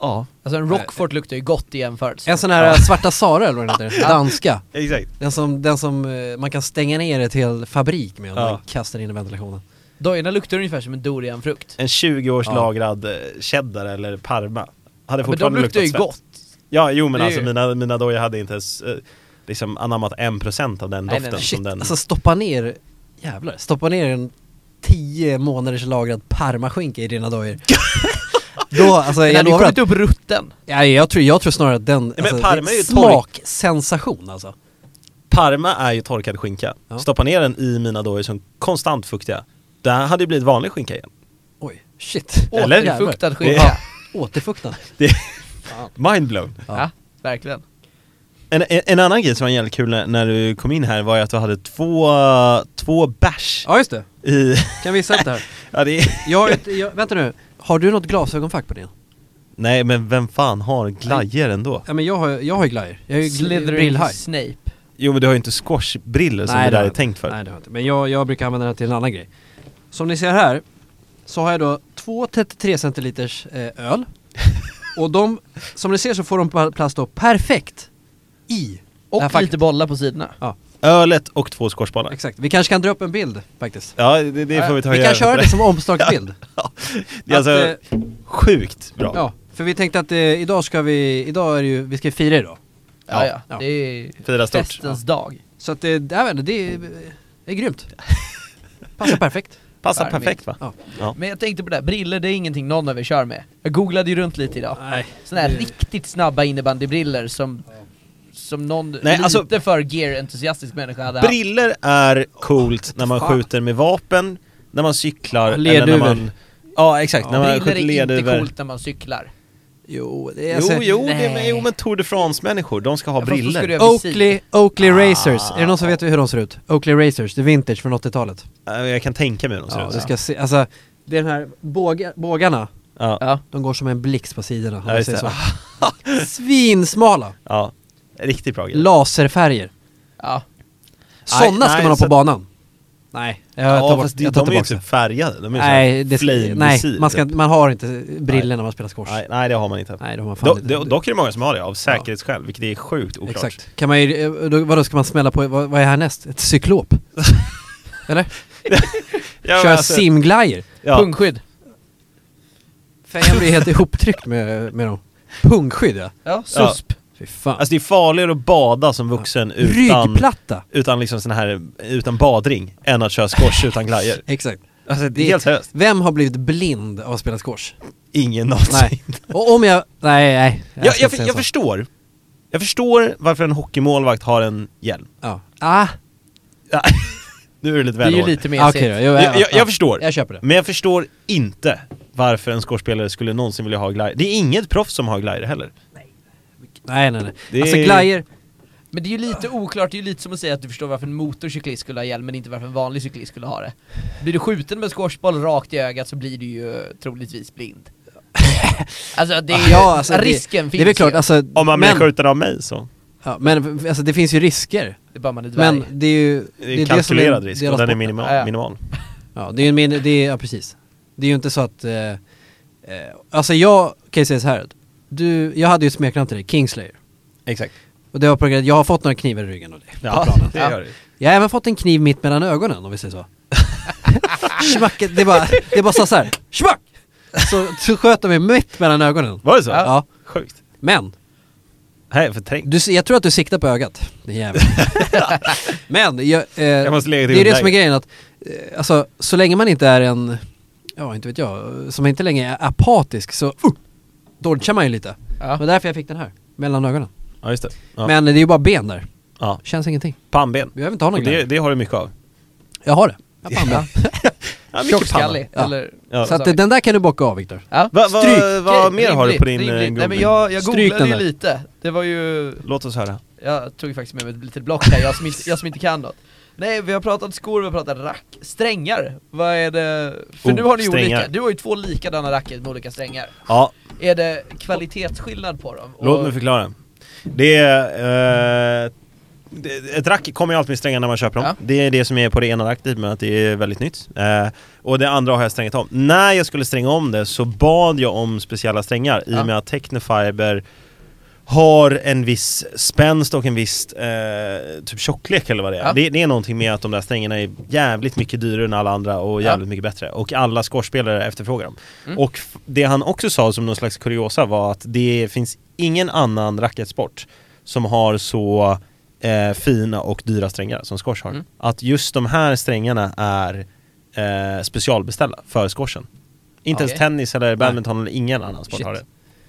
[SPEAKER 3] Ja. Alltså en Rockfort luktar ju gott i jämförelse.
[SPEAKER 2] En sån här Svarta Sara eller vad den heter, danska.
[SPEAKER 1] Exakt.
[SPEAKER 2] Den som, den som eh, man kan stänga ner ett hel fabrik med om
[SPEAKER 1] Ja.
[SPEAKER 2] man kastar in i ventilationen.
[SPEAKER 3] Dojorna luktar ungefär som en dorianfrukt.
[SPEAKER 1] En 20 års
[SPEAKER 2] Ja.
[SPEAKER 1] lagrad eh, cheddar eller parma. Hade
[SPEAKER 3] Men de
[SPEAKER 1] fortfarande
[SPEAKER 3] luktar ju
[SPEAKER 1] luktat svett.
[SPEAKER 3] gott.
[SPEAKER 1] Ja, jo men
[SPEAKER 3] Det är
[SPEAKER 1] alltså
[SPEAKER 3] ju-
[SPEAKER 1] mina, mina dojor hade inte ens eh, liksom anammat 1% av den
[SPEAKER 3] Nej,
[SPEAKER 1] doften
[SPEAKER 3] nej, nej.
[SPEAKER 1] som
[SPEAKER 2] Shit,
[SPEAKER 1] den...
[SPEAKER 2] alltså stoppa ner, jävlar, stoppa ner en 10 månaders lagrad parmaskinka i
[SPEAKER 1] [LAUGHS]
[SPEAKER 2] dina dojor. Då, alltså
[SPEAKER 3] Den
[SPEAKER 2] jag
[SPEAKER 3] hade ju
[SPEAKER 2] lovar
[SPEAKER 3] kommit
[SPEAKER 2] att,
[SPEAKER 3] upp rutten.
[SPEAKER 2] ja, jag, tror, jag tror snarare att den,
[SPEAKER 1] men
[SPEAKER 2] alltså,
[SPEAKER 1] parma
[SPEAKER 2] det
[SPEAKER 1] är ju tork.
[SPEAKER 2] smaksensation alltså.
[SPEAKER 1] Parma är ju torkad skinka.
[SPEAKER 2] Ja.
[SPEAKER 1] Stoppa ner den i mina dojor som konstant fuktiga. Det här hade ju blivit vanlig skinka igen.
[SPEAKER 2] Oj, shit.
[SPEAKER 1] Eller?
[SPEAKER 3] Återfuktad
[SPEAKER 1] Jävlar.
[SPEAKER 3] skinka.
[SPEAKER 1] Det-
[SPEAKER 3] Ja.
[SPEAKER 2] Återfuktad.
[SPEAKER 1] Det [LAUGHS] Mindblown.
[SPEAKER 2] Ja.
[SPEAKER 3] ja, verkligen.
[SPEAKER 1] En, en, en annan grej som var jävligt kul när, när du kom in här var ju att du hade två, två bärs
[SPEAKER 2] Ja just det,
[SPEAKER 1] i... [LAUGHS]
[SPEAKER 2] kan visa upp det här.
[SPEAKER 1] Ja, det är,
[SPEAKER 2] Jag, har ett- jag, vänta nu, har du något glasögonfack på din?
[SPEAKER 1] nej men vem fan har glajer ändå?
[SPEAKER 2] Ja men jag har, jag har ju glajjor, jag är ju gl-
[SPEAKER 3] Slytherin
[SPEAKER 2] brillhaj
[SPEAKER 3] Snape.
[SPEAKER 1] Jo men du har ju inte squashbriller som
[SPEAKER 2] Nej,
[SPEAKER 1] det
[SPEAKER 2] det
[SPEAKER 1] där
[SPEAKER 2] har
[SPEAKER 1] är
[SPEAKER 2] jag
[SPEAKER 1] tänkt för.
[SPEAKER 2] Nej det har jag inte, men jag, jag brukar använda den här till en annan grej Som ni ser här Så har jag då två 33 centiliters eh, öl
[SPEAKER 1] [LAUGHS]
[SPEAKER 2] Och de, som ni ser så får de pla- plats då perfekt i det här
[SPEAKER 3] Och
[SPEAKER 2] facket.
[SPEAKER 3] lite bollar på sidorna.
[SPEAKER 2] Ja,
[SPEAKER 1] Ölet och två squashbollar.
[SPEAKER 2] exakt. Vi kanske kan dra upp en bild faktiskt
[SPEAKER 1] Ja det, det får vi ta och
[SPEAKER 2] Vi
[SPEAKER 1] göra
[SPEAKER 2] kan köra
[SPEAKER 1] på
[SPEAKER 2] det som omslagsbild
[SPEAKER 1] [LAUGHS] Ja. Det är alltså
[SPEAKER 2] Att,
[SPEAKER 1] sjukt bra.
[SPEAKER 2] Ja, för vi tänkte att eh, idag ska vi, idag är det ju, vi ska fira idag
[SPEAKER 1] Ja.
[SPEAKER 3] Ja, ja.
[SPEAKER 2] Ja.
[SPEAKER 3] Det är
[SPEAKER 1] Fira stort.
[SPEAKER 3] festens dag.
[SPEAKER 2] Så att eh, det, jag vet inte, det, är- det
[SPEAKER 1] [LAUGHS]
[SPEAKER 2] är grymt Passar perfekt
[SPEAKER 1] Passar
[SPEAKER 3] Charmigt.
[SPEAKER 1] perfekt va?
[SPEAKER 2] Ja.
[SPEAKER 1] Ja.
[SPEAKER 3] Men jag tänkte på det här, briller det är ingenting någon av er kör med. Jag googlade ju runt lite idag.
[SPEAKER 2] Nej
[SPEAKER 3] Sådana här
[SPEAKER 2] det-
[SPEAKER 3] riktigt snabba innebandybriller som, som någon
[SPEAKER 1] Nej,
[SPEAKER 3] lite
[SPEAKER 1] alltså-
[SPEAKER 3] för gear-entusiastisk människa hade haft.
[SPEAKER 1] Briller är coolt när man
[SPEAKER 2] fan.
[SPEAKER 1] skjuter med vapen, när man cyklar,
[SPEAKER 2] Ja,
[SPEAKER 1] eller när
[SPEAKER 2] lerduvor.
[SPEAKER 1] man... Ja exakt,
[SPEAKER 2] Ja,
[SPEAKER 1] när man
[SPEAKER 3] Briller
[SPEAKER 1] skjuter
[SPEAKER 3] är inte
[SPEAKER 1] lerduvor.
[SPEAKER 3] coolt när man cyklar.
[SPEAKER 2] Jo, det är
[SPEAKER 1] Jo, jo, det, alltså- men,
[SPEAKER 3] nej.
[SPEAKER 1] jo men Tour de France-människor, de ska ha
[SPEAKER 3] Ja, fast då
[SPEAKER 1] briller.
[SPEAKER 3] ska du-
[SPEAKER 2] Oakley, Oakley
[SPEAKER 1] Ah.
[SPEAKER 2] Racers, är det någon som vet hur de ser ut? Oakley Racers, det är vintage från 80-talet
[SPEAKER 1] Ja, Jag kan tänka mig hur de ser
[SPEAKER 2] Ja,
[SPEAKER 1] ut.
[SPEAKER 2] du ska se, alltså det är den här båga, bågarna,
[SPEAKER 1] Ja.
[SPEAKER 3] Ja.
[SPEAKER 2] de går som en blixt på sidorna om
[SPEAKER 1] Ja,
[SPEAKER 2] vi
[SPEAKER 1] just
[SPEAKER 2] säger så [LAUGHS]
[SPEAKER 1] det.
[SPEAKER 2] Svinsmala,
[SPEAKER 1] ja. Riktigt bra grej.
[SPEAKER 2] laserfärger
[SPEAKER 3] ja.
[SPEAKER 2] Sådana ska
[SPEAKER 1] nej,
[SPEAKER 2] man ha
[SPEAKER 1] så-
[SPEAKER 2] på banan Nej, jag tar
[SPEAKER 1] Ja
[SPEAKER 2] bort,
[SPEAKER 1] fast de,
[SPEAKER 2] jag tar
[SPEAKER 1] de är ju
[SPEAKER 2] tillbaka
[SPEAKER 1] inte
[SPEAKER 2] det
[SPEAKER 1] färgade, de är ju
[SPEAKER 2] Nej,
[SPEAKER 1] såhär
[SPEAKER 2] det,
[SPEAKER 1] flame
[SPEAKER 2] nej
[SPEAKER 1] visir,
[SPEAKER 2] man, ska,
[SPEAKER 1] typ.
[SPEAKER 2] man har inte brillor när man spelar squash
[SPEAKER 1] nej,
[SPEAKER 2] Nej,
[SPEAKER 1] nej det har man inte.
[SPEAKER 2] det har man fan
[SPEAKER 1] Do,
[SPEAKER 2] inte
[SPEAKER 1] do, dock är det många som har det av säkerhetsskäl, vilket är sjukt oklart.
[SPEAKER 2] Exakt, kan man ju, eh, då, vadå ska man smälla på, vad, vad är härnäst?
[SPEAKER 1] [LAUGHS]
[SPEAKER 2] Ett cyklop? Eller?
[SPEAKER 1] Ja,
[SPEAKER 2] Köra
[SPEAKER 1] men alltså,
[SPEAKER 2] simglajer?
[SPEAKER 1] ja.
[SPEAKER 3] Pungskydd.
[SPEAKER 2] Fan jag blir helt ihoptryckt med, med dem. Pungskydd ja.
[SPEAKER 3] Ja, susp.
[SPEAKER 2] Fy fan.
[SPEAKER 1] Alltså det är farligare att bada som vuxen utan,
[SPEAKER 2] Ryggplatta!
[SPEAKER 1] utan liksom sån här, utan badring, än att köra squash utan
[SPEAKER 2] [LAUGHS]
[SPEAKER 1] glajjor.
[SPEAKER 2] Exakt.
[SPEAKER 1] Alltså det är helt seriöst.
[SPEAKER 2] Vem har blivit blind av att
[SPEAKER 1] [LAUGHS]
[SPEAKER 2] spela squash?
[SPEAKER 1] Ingen någonsin.
[SPEAKER 2] Nej. Och om jag... Nej, nej.
[SPEAKER 1] Jag,
[SPEAKER 2] ska
[SPEAKER 1] jag,
[SPEAKER 2] inte säga
[SPEAKER 1] jag
[SPEAKER 2] så.
[SPEAKER 1] förstår. Jag förstår varför en hockeymålvakt har en hjälm.
[SPEAKER 2] Ja. Ah,
[SPEAKER 1] Ja, nu är det lite
[SPEAKER 3] Det är
[SPEAKER 1] väl
[SPEAKER 3] ju
[SPEAKER 1] hårt.
[SPEAKER 3] lite
[SPEAKER 2] okej
[SPEAKER 3] mesigt.
[SPEAKER 2] då. Jag,
[SPEAKER 1] jag, jag, jag förstår.
[SPEAKER 2] Jag köper det.
[SPEAKER 1] Men jag förstår inte varför en skådespelare skulle någonsin vilja ha glider. Det är inget proffs som har glider heller.
[SPEAKER 2] Nej, nej, nej.
[SPEAKER 1] Det
[SPEAKER 2] Alltså
[SPEAKER 1] är-
[SPEAKER 2] glajjor...
[SPEAKER 3] Men det är ju lite oklart, det är ju lite som att säga att du förstår varför en motorcyklist skulle ha hjälm men inte varför en vanlig cyklist skulle ha det. Blir du skjuten med en squashboll rakt i ögat så blir du ju eh, troligtvis blind. [LAUGHS]
[SPEAKER 1] [LAUGHS]
[SPEAKER 3] alltså det är ju,
[SPEAKER 2] Ja, alltså,
[SPEAKER 3] risken
[SPEAKER 2] det,
[SPEAKER 3] finns
[SPEAKER 2] Det är väl klart,
[SPEAKER 3] ju.
[SPEAKER 2] alltså...
[SPEAKER 1] Om man blir
[SPEAKER 2] men,
[SPEAKER 1] skjuten av mig så.
[SPEAKER 2] ja, men alltså det finns ju risker.
[SPEAKER 3] Det är bara man är dvärg.
[SPEAKER 2] Men det är ju...
[SPEAKER 1] Det är kalkylerad risk
[SPEAKER 2] del av
[SPEAKER 1] och den är
[SPEAKER 2] sporten.
[SPEAKER 1] minimal.
[SPEAKER 3] Ja, ja.
[SPEAKER 1] minimal.
[SPEAKER 2] Ja, det är ju en min... Det är, ja, precis. Det är ju inte så att... Eh, eh, alltså jag kan ju säga så här. Du, jag hade ju ett smeknamn till dig, Kingslayer.
[SPEAKER 1] Exakt.
[SPEAKER 2] Och det var på grund av att jag har fått några knivar i ryggen och det.
[SPEAKER 1] Ja,
[SPEAKER 3] planen.
[SPEAKER 1] det
[SPEAKER 3] Ja.
[SPEAKER 1] gör det.
[SPEAKER 2] Jag har även fått en kniv mitt mellan ögonen om vi säger så. [LAUGHS] Schmacket, det bara, det bara sa så här. schmack! Så, så sköt de mig mitt mellan ögonen.
[SPEAKER 1] Var det så?
[SPEAKER 2] Ja.
[SPEAKER 1] Sjukt.
[SPEAKER 2] Men,
[SPEAKER 1] Nej, förträngt.
[SPEAKER 2] du, jag tror att du siktar på ögat, din
[SPEAKER 1] [LAUGHS]
[SPEAKER 2] jävel. Men, jag, eh,
[SPEAKER 1] Jag måste lägga till
[SPEAKER 2] det är det
[SPEAKER 1] underläge.
[SPEAKER 2] som är grejen att, eh, alltså så länge man inte är en, ja inte vet jag, som inte längre är apatisk så, uh, dodgar man ju lite. Det var
[SPEAKER 3] ja.
[SPEAKER 2] därför jag fick den här, mellan ögonen.
[SPEAKER 1] Ja, just det. Ja.
[SPEAKER 2] Men det är ju bara ben där,
[SPEAKER 1] ja.
[SPEAKER 2] känns ingenting.
[SPEAKER 1] Pannben.
[SPEAKER 2] Vi behöver inte ha någon
[SPEAKER 1] Och det,
[SPEAKER 2] det...
[SPEAKER 1] det har du mycket av.
[SPEAKER 2] Jag har det. Jag har pannben.
[SPEAKER 1] Ja, mycket
[SPEAKER 3] Tjockskallig,
[SPEAKER 2] Ja.
[SPEAKER 3] eller...
[SPEAKER 1] Ja.
[SPEAKER 2] Så att eh, den där kan du bocka av Viktor.
[SPEAKER 3] Ja.
[SPEAKER 1] Vad va,
[SPEAKER 2] Stryk.
[SPEAKER 1] vad mer har du på din eh,
[SPEAKER 3] rimligt. Nej men
[SPEAKER 1] googling?
[SPEAKER 3] jag, jag
[SPEAKER 2] Stryk
[SPEAKER 3] googlade
[SPEAKER 2] den
[SPEAKER 3] ju
[SPEAKER 2] där.
[SPEAKER 3] lite, det var ju
[SPEAKER 1] Låt oss höra.
[SPEAKER 3] Jag tog faktiskt med mig ett litet block här, jag som inte, jag som inte kan något Nej, vi har pratat skor, vi har pratat rack, strängar, vad är det? För
[SPEAKER 1] Oh,
[SPEAKER 3] nu har ni ju
[SPEAKER 1] strängar.
[SPEAKER 3] olika, du har ju två likadana racket med olika strängar
[SPEAKER 1] Ja,
[SPEAKER 3] Är det kvalitetsskillnad på dem?
[SPEAKER 1] Låt
[SPEAKER 3] Och-
[SPEAKER 1] mig förklara. Det är eh, det- ett rack kommer ju alltid med strängar när man köper dem.
[SPEAKER 3] Ja.
[SPEAKER 1] Det är det som är på det ena racket, i och med att det är väldigt nytt. Eh, och det andra har jag strängat om. När jag skulle stränga om det så bad jag om speciella strängar i
[SPEAKER 3] Ja.
[SPEAKER 1] och med att Technofiber har en viss spänst och en viss eh, typ tjocklek eller vad det är.
[SPEAKER 3] Ja.
[SPEAKER 1] Det, det är någonting med att de där strängarna är jävligt mycket dyrare än alla andra och
[SPEAKER 3] Ja.
[SPEAKER 1] jävligt mycket bättre. Och alla squashspelare efterfrågar dem.
[SPEAKER 3] Mm.
[SPEAKER 1] Och f- det han också sa som någon slags kuriosa var att det finns ingen annan racketsport som har så eh, fina och dyra strängar som squash har.
[SPEAKER 3] Mm.
[SPEAKER 1] Att just de här strängarna är eh, specialbeställda för squashen. Inte
[SPEAKER 3] Okej.
[SPEAKER 1] ens tennis eller badminton eller ingen annan sport
[SPEAKER 2] Shit.
[SPEAKER 1] har det.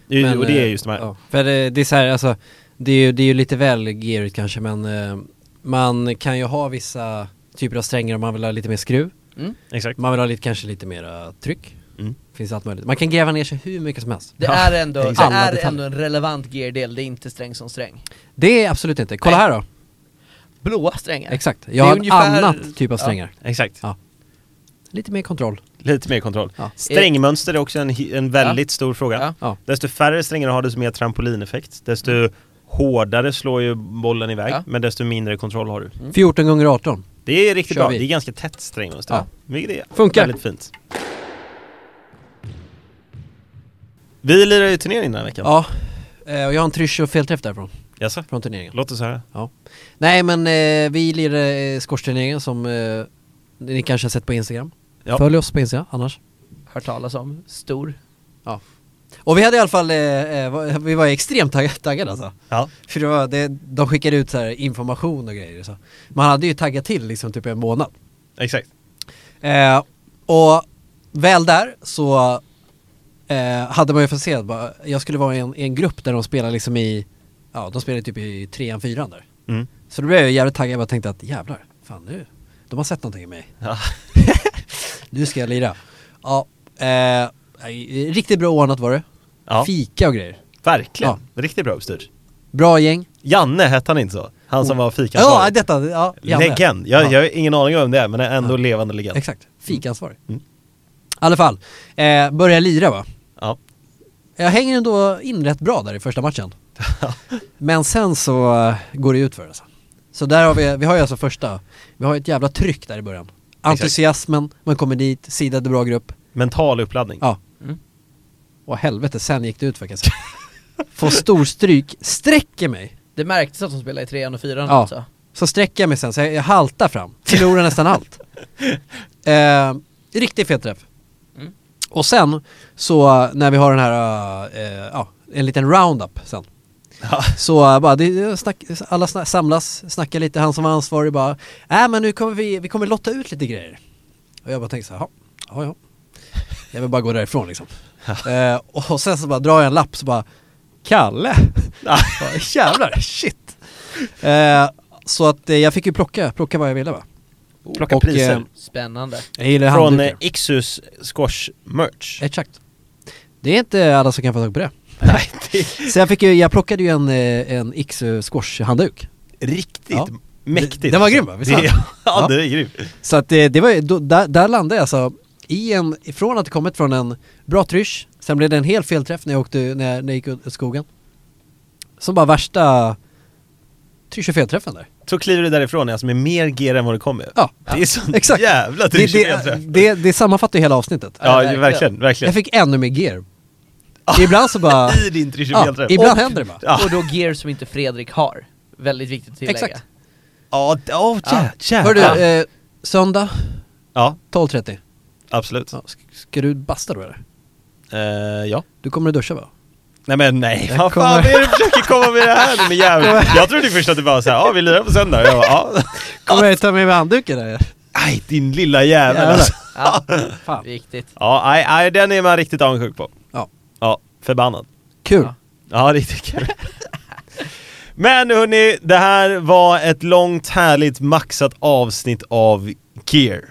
[SPEAKER 1] det. är-
[SPEAKER 2] Men,
[SPEAKER 1] och det är
[SPEAKER 2] eh,
[SPEAKER 1] just de här.
[SPEAKER 2] Ja, för det, det är så här, alltså, det är ju, det är ju lite väl gearigt kanske men eh, man kan ju ha vissa typer av strängar om man vill ha lite mer skruv.
[SPEAKER 3] Mm.
[SPEAKER 1] Exakt.
[SPEAKER 2] Man vill ha lite, kanske lite mer eh, tryck.
[SPEAKER 1] Mm.
[SPEAKER 2] Finns allt möjligt. Man kan gräva ner sig hur mycket som helst.
[SPEAKER 3] Det
[SPEAKER 1] Ja,
[SPEAKER 3] är ändå, det
[SPEAKER 2] exakt. Alla
[SPEAKER 3] är
[SPEAKER 2] detaljer.
[SPEAKER 3] ändå en relevant gear-del, det är inte sträng som sträng.
[SPEAKER 2] Det är absolut inte. Kolla
[SPEAKER 3] Nej.
[SPEAKER 2] här då.
[SPEAKER 3] Blåa strängar.
[SPEAKER 2] Exakt.
[SPEAKER 3] Det är
[SPEAKER 2] Jag har en
[SPEAKER 3] ungefär-
[SPEAKER 2] annan typ av
[SPEAKER 3] Ja.
[SPEAKER 2] strängar.
[SPEAKER 1] Exakt.
[SPEAKER 2] Ja. Lite mer kontroll.
[SPEAKER 1] Lite mer kontroll.
[SPEAKER 2] Ja.
[SPEAKER 1] Strängmönster är också en, hi- en väldigt stor fråga.
[SPEAKER 3] Ja.
[SPEAKER 2] Ja. Mm.
[SPEAKER 1] Desto färre strängar du har, desto mer trampolineffekt. Desto hårdare slår ju bollen iväg,
[SPEAKER 3] Ja.
[SPEAKER 1] men desto mindre kontroll har du.
[SPEAKER 3] Mm.
[SPEAKER 2] 14 gånger 18.
[SPEAKER 1] Det är riktigt
[SPEAKER 2] Mm. Kör
[SPEAKER 1] bra.
[SPEAKER 2] vi.
[SPEAKER 1] Det är ganska tätt strängmönster.
[SPEAKER 2] Ja.
[SPEAKER 1] Vilket är
[SPEAKER 2] Funkar.
[SPEAKER 1] väldigt fint. Vi lirar ju turnering den här veckan.
[SPEAKER 2] Ja. Eh, Och jag har en trysch och felträff därifrån.
[SPEAKER 1] Jaså?
[SPEAKER 2] Från turneringen.
[SPEAKER 1] Låt oss höra.
[SPEAKER 2] Ja. Nej men eh, vi lirade eh, skorstenturneringen som eh, ni kanske har sett på Instagram.
[SPEAKER 1] Ja.
[SPEAKER 2] Följ oss på Instagram annars.
[SPEAKER 3] Hört talas om. Stor.
[SPEAKER 2] Ja. Och vi hade i alla fall, eh, eh, va- vi var extremt tagg- taggade alltså.
[SPEAKER 1] Ja.
[SPEAKER 2] För det var, det, de skickade ut så här information och grejer så. Man hade ju taggat till liksom typ en månad.
[SPEAKER 1] Exakt.
[SPEAKER 2] Eh, och väl där så eh, hade man ju fått se att bara, jag skulle vara i en, i en grupp där de spelar liksom i, ja de spelar typ i trean, fyran där.
[SPEAKER 1] Mm.
[SPEAKER 2] Så då blev jag jävligt taggad, jag bara tänkte att jävlar, fan nu, de har sett någonting i mig. [LAUGHS]
[SPEAKER 1] Ja. [LAUGHS]
[SPEAKER 2] Nu ska jag lira. Ja, eh, riktigt bra ordnat var det.
[SPEAKER 1] Ja.
[SPEAKER 2] Fika och grejer.
[SPEAKER 1] Verkligen. Riktigt bra uppstyrt.
[SPEAKER 2] Bra gäng.
[SPEAKER 1] Janne hette han inte så? Han som alltså, var fikaansvarig.
[SPEAKER 2] Oh. Ja, detta, ja. Janne.
[SPEAKER 1] Legend. Jag,
[SPEAKER 2] Ja.
[SPEAKER 1] jag har ingen aning om vem det är, men är ändå
[SPEAKER 2] Ja.
[SPEAKER 1] levande legend.
[SPEAKER 2] Exakt, fikaansvarig. I
[SPEAKER 1] Mm.
[SPEAKER 2] alla fall, eh, börjar lira va.
[SPEAKER 1] Ja.
[SPEAKER 2] Jag hänger ändå in rätt bra där i första matchen. Men sen så eh, går det ut för alltså. Så där har vi, vi har ju alltså första, vi har ju ett jävla tryck där i början. Entusiasmen, man kommer dit, sidade bra grupp.
[SPEAKER 1] Mental uppladdning.
[SPEAKER 2] Ja.
[SPEAKER 3] Mm.
[SPEAKER 2] Och helvete, sen gick det ut för kan jag säga. Får stor stryk, sträcker mig.
[SPEAKER 3] Det märktes att de spelade i trean och fyran
[SPEAKER 2] Ja.
[SPEAKER 3] alltså.
[SPEAKER 2] Så sträcker jag mig sen, så jag, jag haltar fram. Förlorar nästan allt. Eh, riktigt fet träff.
[SPEAKER 3] Mm.
[SPEAKER 2] Och sen så eh, när vi har den här, eh, eh, ja, en liten roundup sen.
[SPEAKER 1] Ja.
[SPEAKER 2] Så eh, bara, det- det, snack, alla sna, samlas, snackar lite, han som var ansvarig bara Nej men nu kommer vi, vi kommer lotta ut lite grejer Och jag bara tänkte såhär, ja, ja Jag vill bara gå därifrån liksom eh, Och sen så bara drar jag en lapp så bara Kalle!
[SPEAKER 1] Ah.
[SPEAKER 2] [LAUGHS] Bara, Jävlar, shit! Eh, så att eh, jag fick ju plocka, plocka vad jag ville va
[SPEAKER 1] Plocka
[SPEAKER 2] Och,
[SPEAKER 1] priser.
[SPEAKER 2] eh,
[SPEAKER 3] Spännande.
[SPEAKER 2] Jag gillar
[SPEAKER 1] Från eh,
[SPEAKER 2] handdukar
[SPEAKER 1] Ixus Squash Merch.
[SPEAKER 2] Exakt Det är inte alla som kan få tag på det
[SPEAKER 1] [LAUGHS] Nej, det är
[SPEAKER 2] Så jag fick ju, jag plockade ju en, eh, en XU squash handduk
[SPEAKER 1] riktigt
[SPEAKER 2] Ja.
[SPEAKER 1] mäktigt. alltså.
[SPEAKER 2] Den var grym, va? Visst var
[SPEAKER 1] Det-
[SPEAKER 2] den?
[SPEAKER 1] [LAUGHS] Ja,
[SPEAKER 2] Ja.
[SPEAKER 1] det är grym.
[SPEAKER 2] Så att eh, det, det var ju- då, där, där landade jag alltså i en, från att det kommit från en bra trysch, sen blev det en hel felträff när jag åkte, när jag, när jag gick ut i skogen. Som bara värsta trysch och felträffen där.
[SPEAKER 1] Så kliver du därifrån, alltså med mer gear än vad du kommer.
[SPEAKER 2] Ja,
[SPEAKER 1] Det är sån
[SPEAKER 2] exakt.
[SPEAKER 1] jävla
[SPEAKER 2] Det,
[SPEAKER 1] tryck i
[SPEAKER 2] det,
[SPEAKER 1] det,
[SPEAKER 2] det, det sammanfattar ju hela avsnittet.
[SPEAKER 1] Ja,
[SPEAKER 3] Ja,
[SPEAKER 1] verkligen, verkligen.
[SPEAKER 2] Jag fick ännu mer gear. Ibland så bara...
[SPEAKER 1] [LAUGHS] I din tryck
[SPEAKER 2] ja, ibland händer det bara.
[SPEAKER 1] Ja.
[SPEAKER 3] Och då gear som inte Fredrik har. Väldigt viktigt att tillägga.
[SPEAKER 2] Exakt.
[SPEAKER 1] Ja, d- åh, jä-
[SPEAKER 2] Hör du,
[SPEAKER 1] jävlar.
[SPEAKER 2] eh, söndag
[SPEAKER 1] Ja,
[SPEAKER 2] 12.30.
[SPEAKER 1] absolut.
[SPEAKER 2] Ja, ska, ska du basta då eller?
[SPEAKER 1] Eh, Ja.
[SPEAKER 2] Du kommer att duscha va?
[SPEAKER 1] Nej men nej,
[SPEAKER 2] Jag
[SPEAKER 1] vad
[SPEAKER 2] kommer-
[SPEAKER 1] fan är det du försöker komma med det här nu med jävlar? Jag trodde först att det var såhär, ja vi lirar på söndag. Jag bara, ja.
[SPEAKER 2] Kommer jag ta med mig handduken eller?
[SPEAKER 1] Aj, din lilla jävel alltså.
[SPEAKER 3] Ja,
[SPEAKER 2] Fan.
[SPEAKER 3] viktigt.
[SPEAKER 1] Ja, nej, nej, den är man riktigt avundsjuk på.
[SPEAKER 2] Ja,
[SPEAKER 1] Ja, förbannad.
[SPEAKER 2] kul.
[SPEAKER 3] Ja.
[SPEAKER 1] Ja, riktigt kul. Men hörni, det här var ett långt härligt maxat avsnitt av Gear.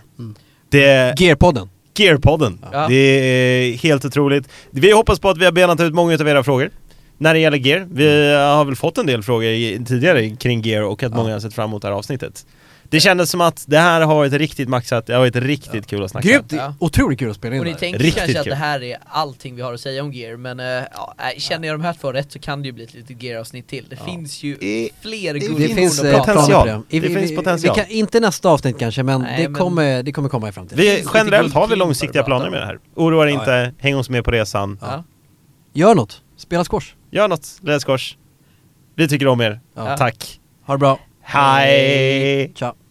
[SPEAKER 1] Det,
[SPEAKER 2] Eh, Gearpodden.
[SPEAKER 1] Gearpodden.
[SPEAKER 3] Ja.
[SPEAKER 1] Det är helt otroligt. Vi hoppas på att vi har benat ut många av era frågor. När det gäller
[SPEAKER 2] Mm.
[SPEAKER 1] Gear. Vi har väl fått en del frågor i, tidigare kring Gear och att många har sett fram emot det här avsnittet. Det kändes som att det här har varit riktigt maxat, det har varit riktigt kul att snacka
[SPEAKER 2] Grymt!
[SPEAKER 3] Ja.
[SPEAKER 2] Otroligt kul att spela in
[SPEAKER 3] Och
[SPEAKER 2] det
[SPEAKER 3] ni
[SPEAKER 2] här.
[SPEAKER 3] tänker
[SPEAKER 1] Riktigt
[SPEAKER 3] kanske att
[SPEAKER 1] kul.
[SPEAKER 3] det här är allting vi har att säga om Gear, men eh, ja, nej, känner jag de här två rätt så kan det ju bli ett litet Gear-avsnitt till. Det finns ju
[SPEAKER 1] I-
[SPEAKER 3] fler
[SPEAKER 1] det
[SPEAKER 3] guldkorn
[SPEAKER 2] Det finns
[SPEAKER 3] att
[SPEAKER 2] eh,
[SPEAKER 3] prata om.
[SPEAKER 1] potential.
[SPEAKER 2] planer på det.
[SPEAKER 1] Det finns potential.
[SPEAKER 2] Vi kan, inte nästa avsnitt kanske, men,
[SPEAKER 3] Nej,
[SPEAKER 2] det,
[SPEAKER 3] men-
[SPEAKER 2] Kommer, det kommer komma i framtiden.
[SPEAKER 1] Vi,
[SPEAKER 3] finns lite
[SPEAKER 1] generellt har vi
[SPEAKER 3] guldklimpar
[SPEAKER 1] långsiktiga
[SPEAKER 3] att prata
[SPEAKER 1] planer med
[SPEAKER 3] om.
[SPEAKER 1] det här. Oroa dig
[SPEAKER 2] Ja,
[SPEAKER 1] inte, häng oss med på resan.
[SPEAKER 3] Ja.
[SPEAKER 2] Gör något, spela squash.
[SPEAKER 1] Gör något, Räddskors. Vi tycker om er.
[SPEAKER 2] Ja.
[SPEAKER 1] Tack.
[SPEAKER 2] Ha det bra,
[SPEAKER 1] Hej!
[SPEAKER 2] ciao.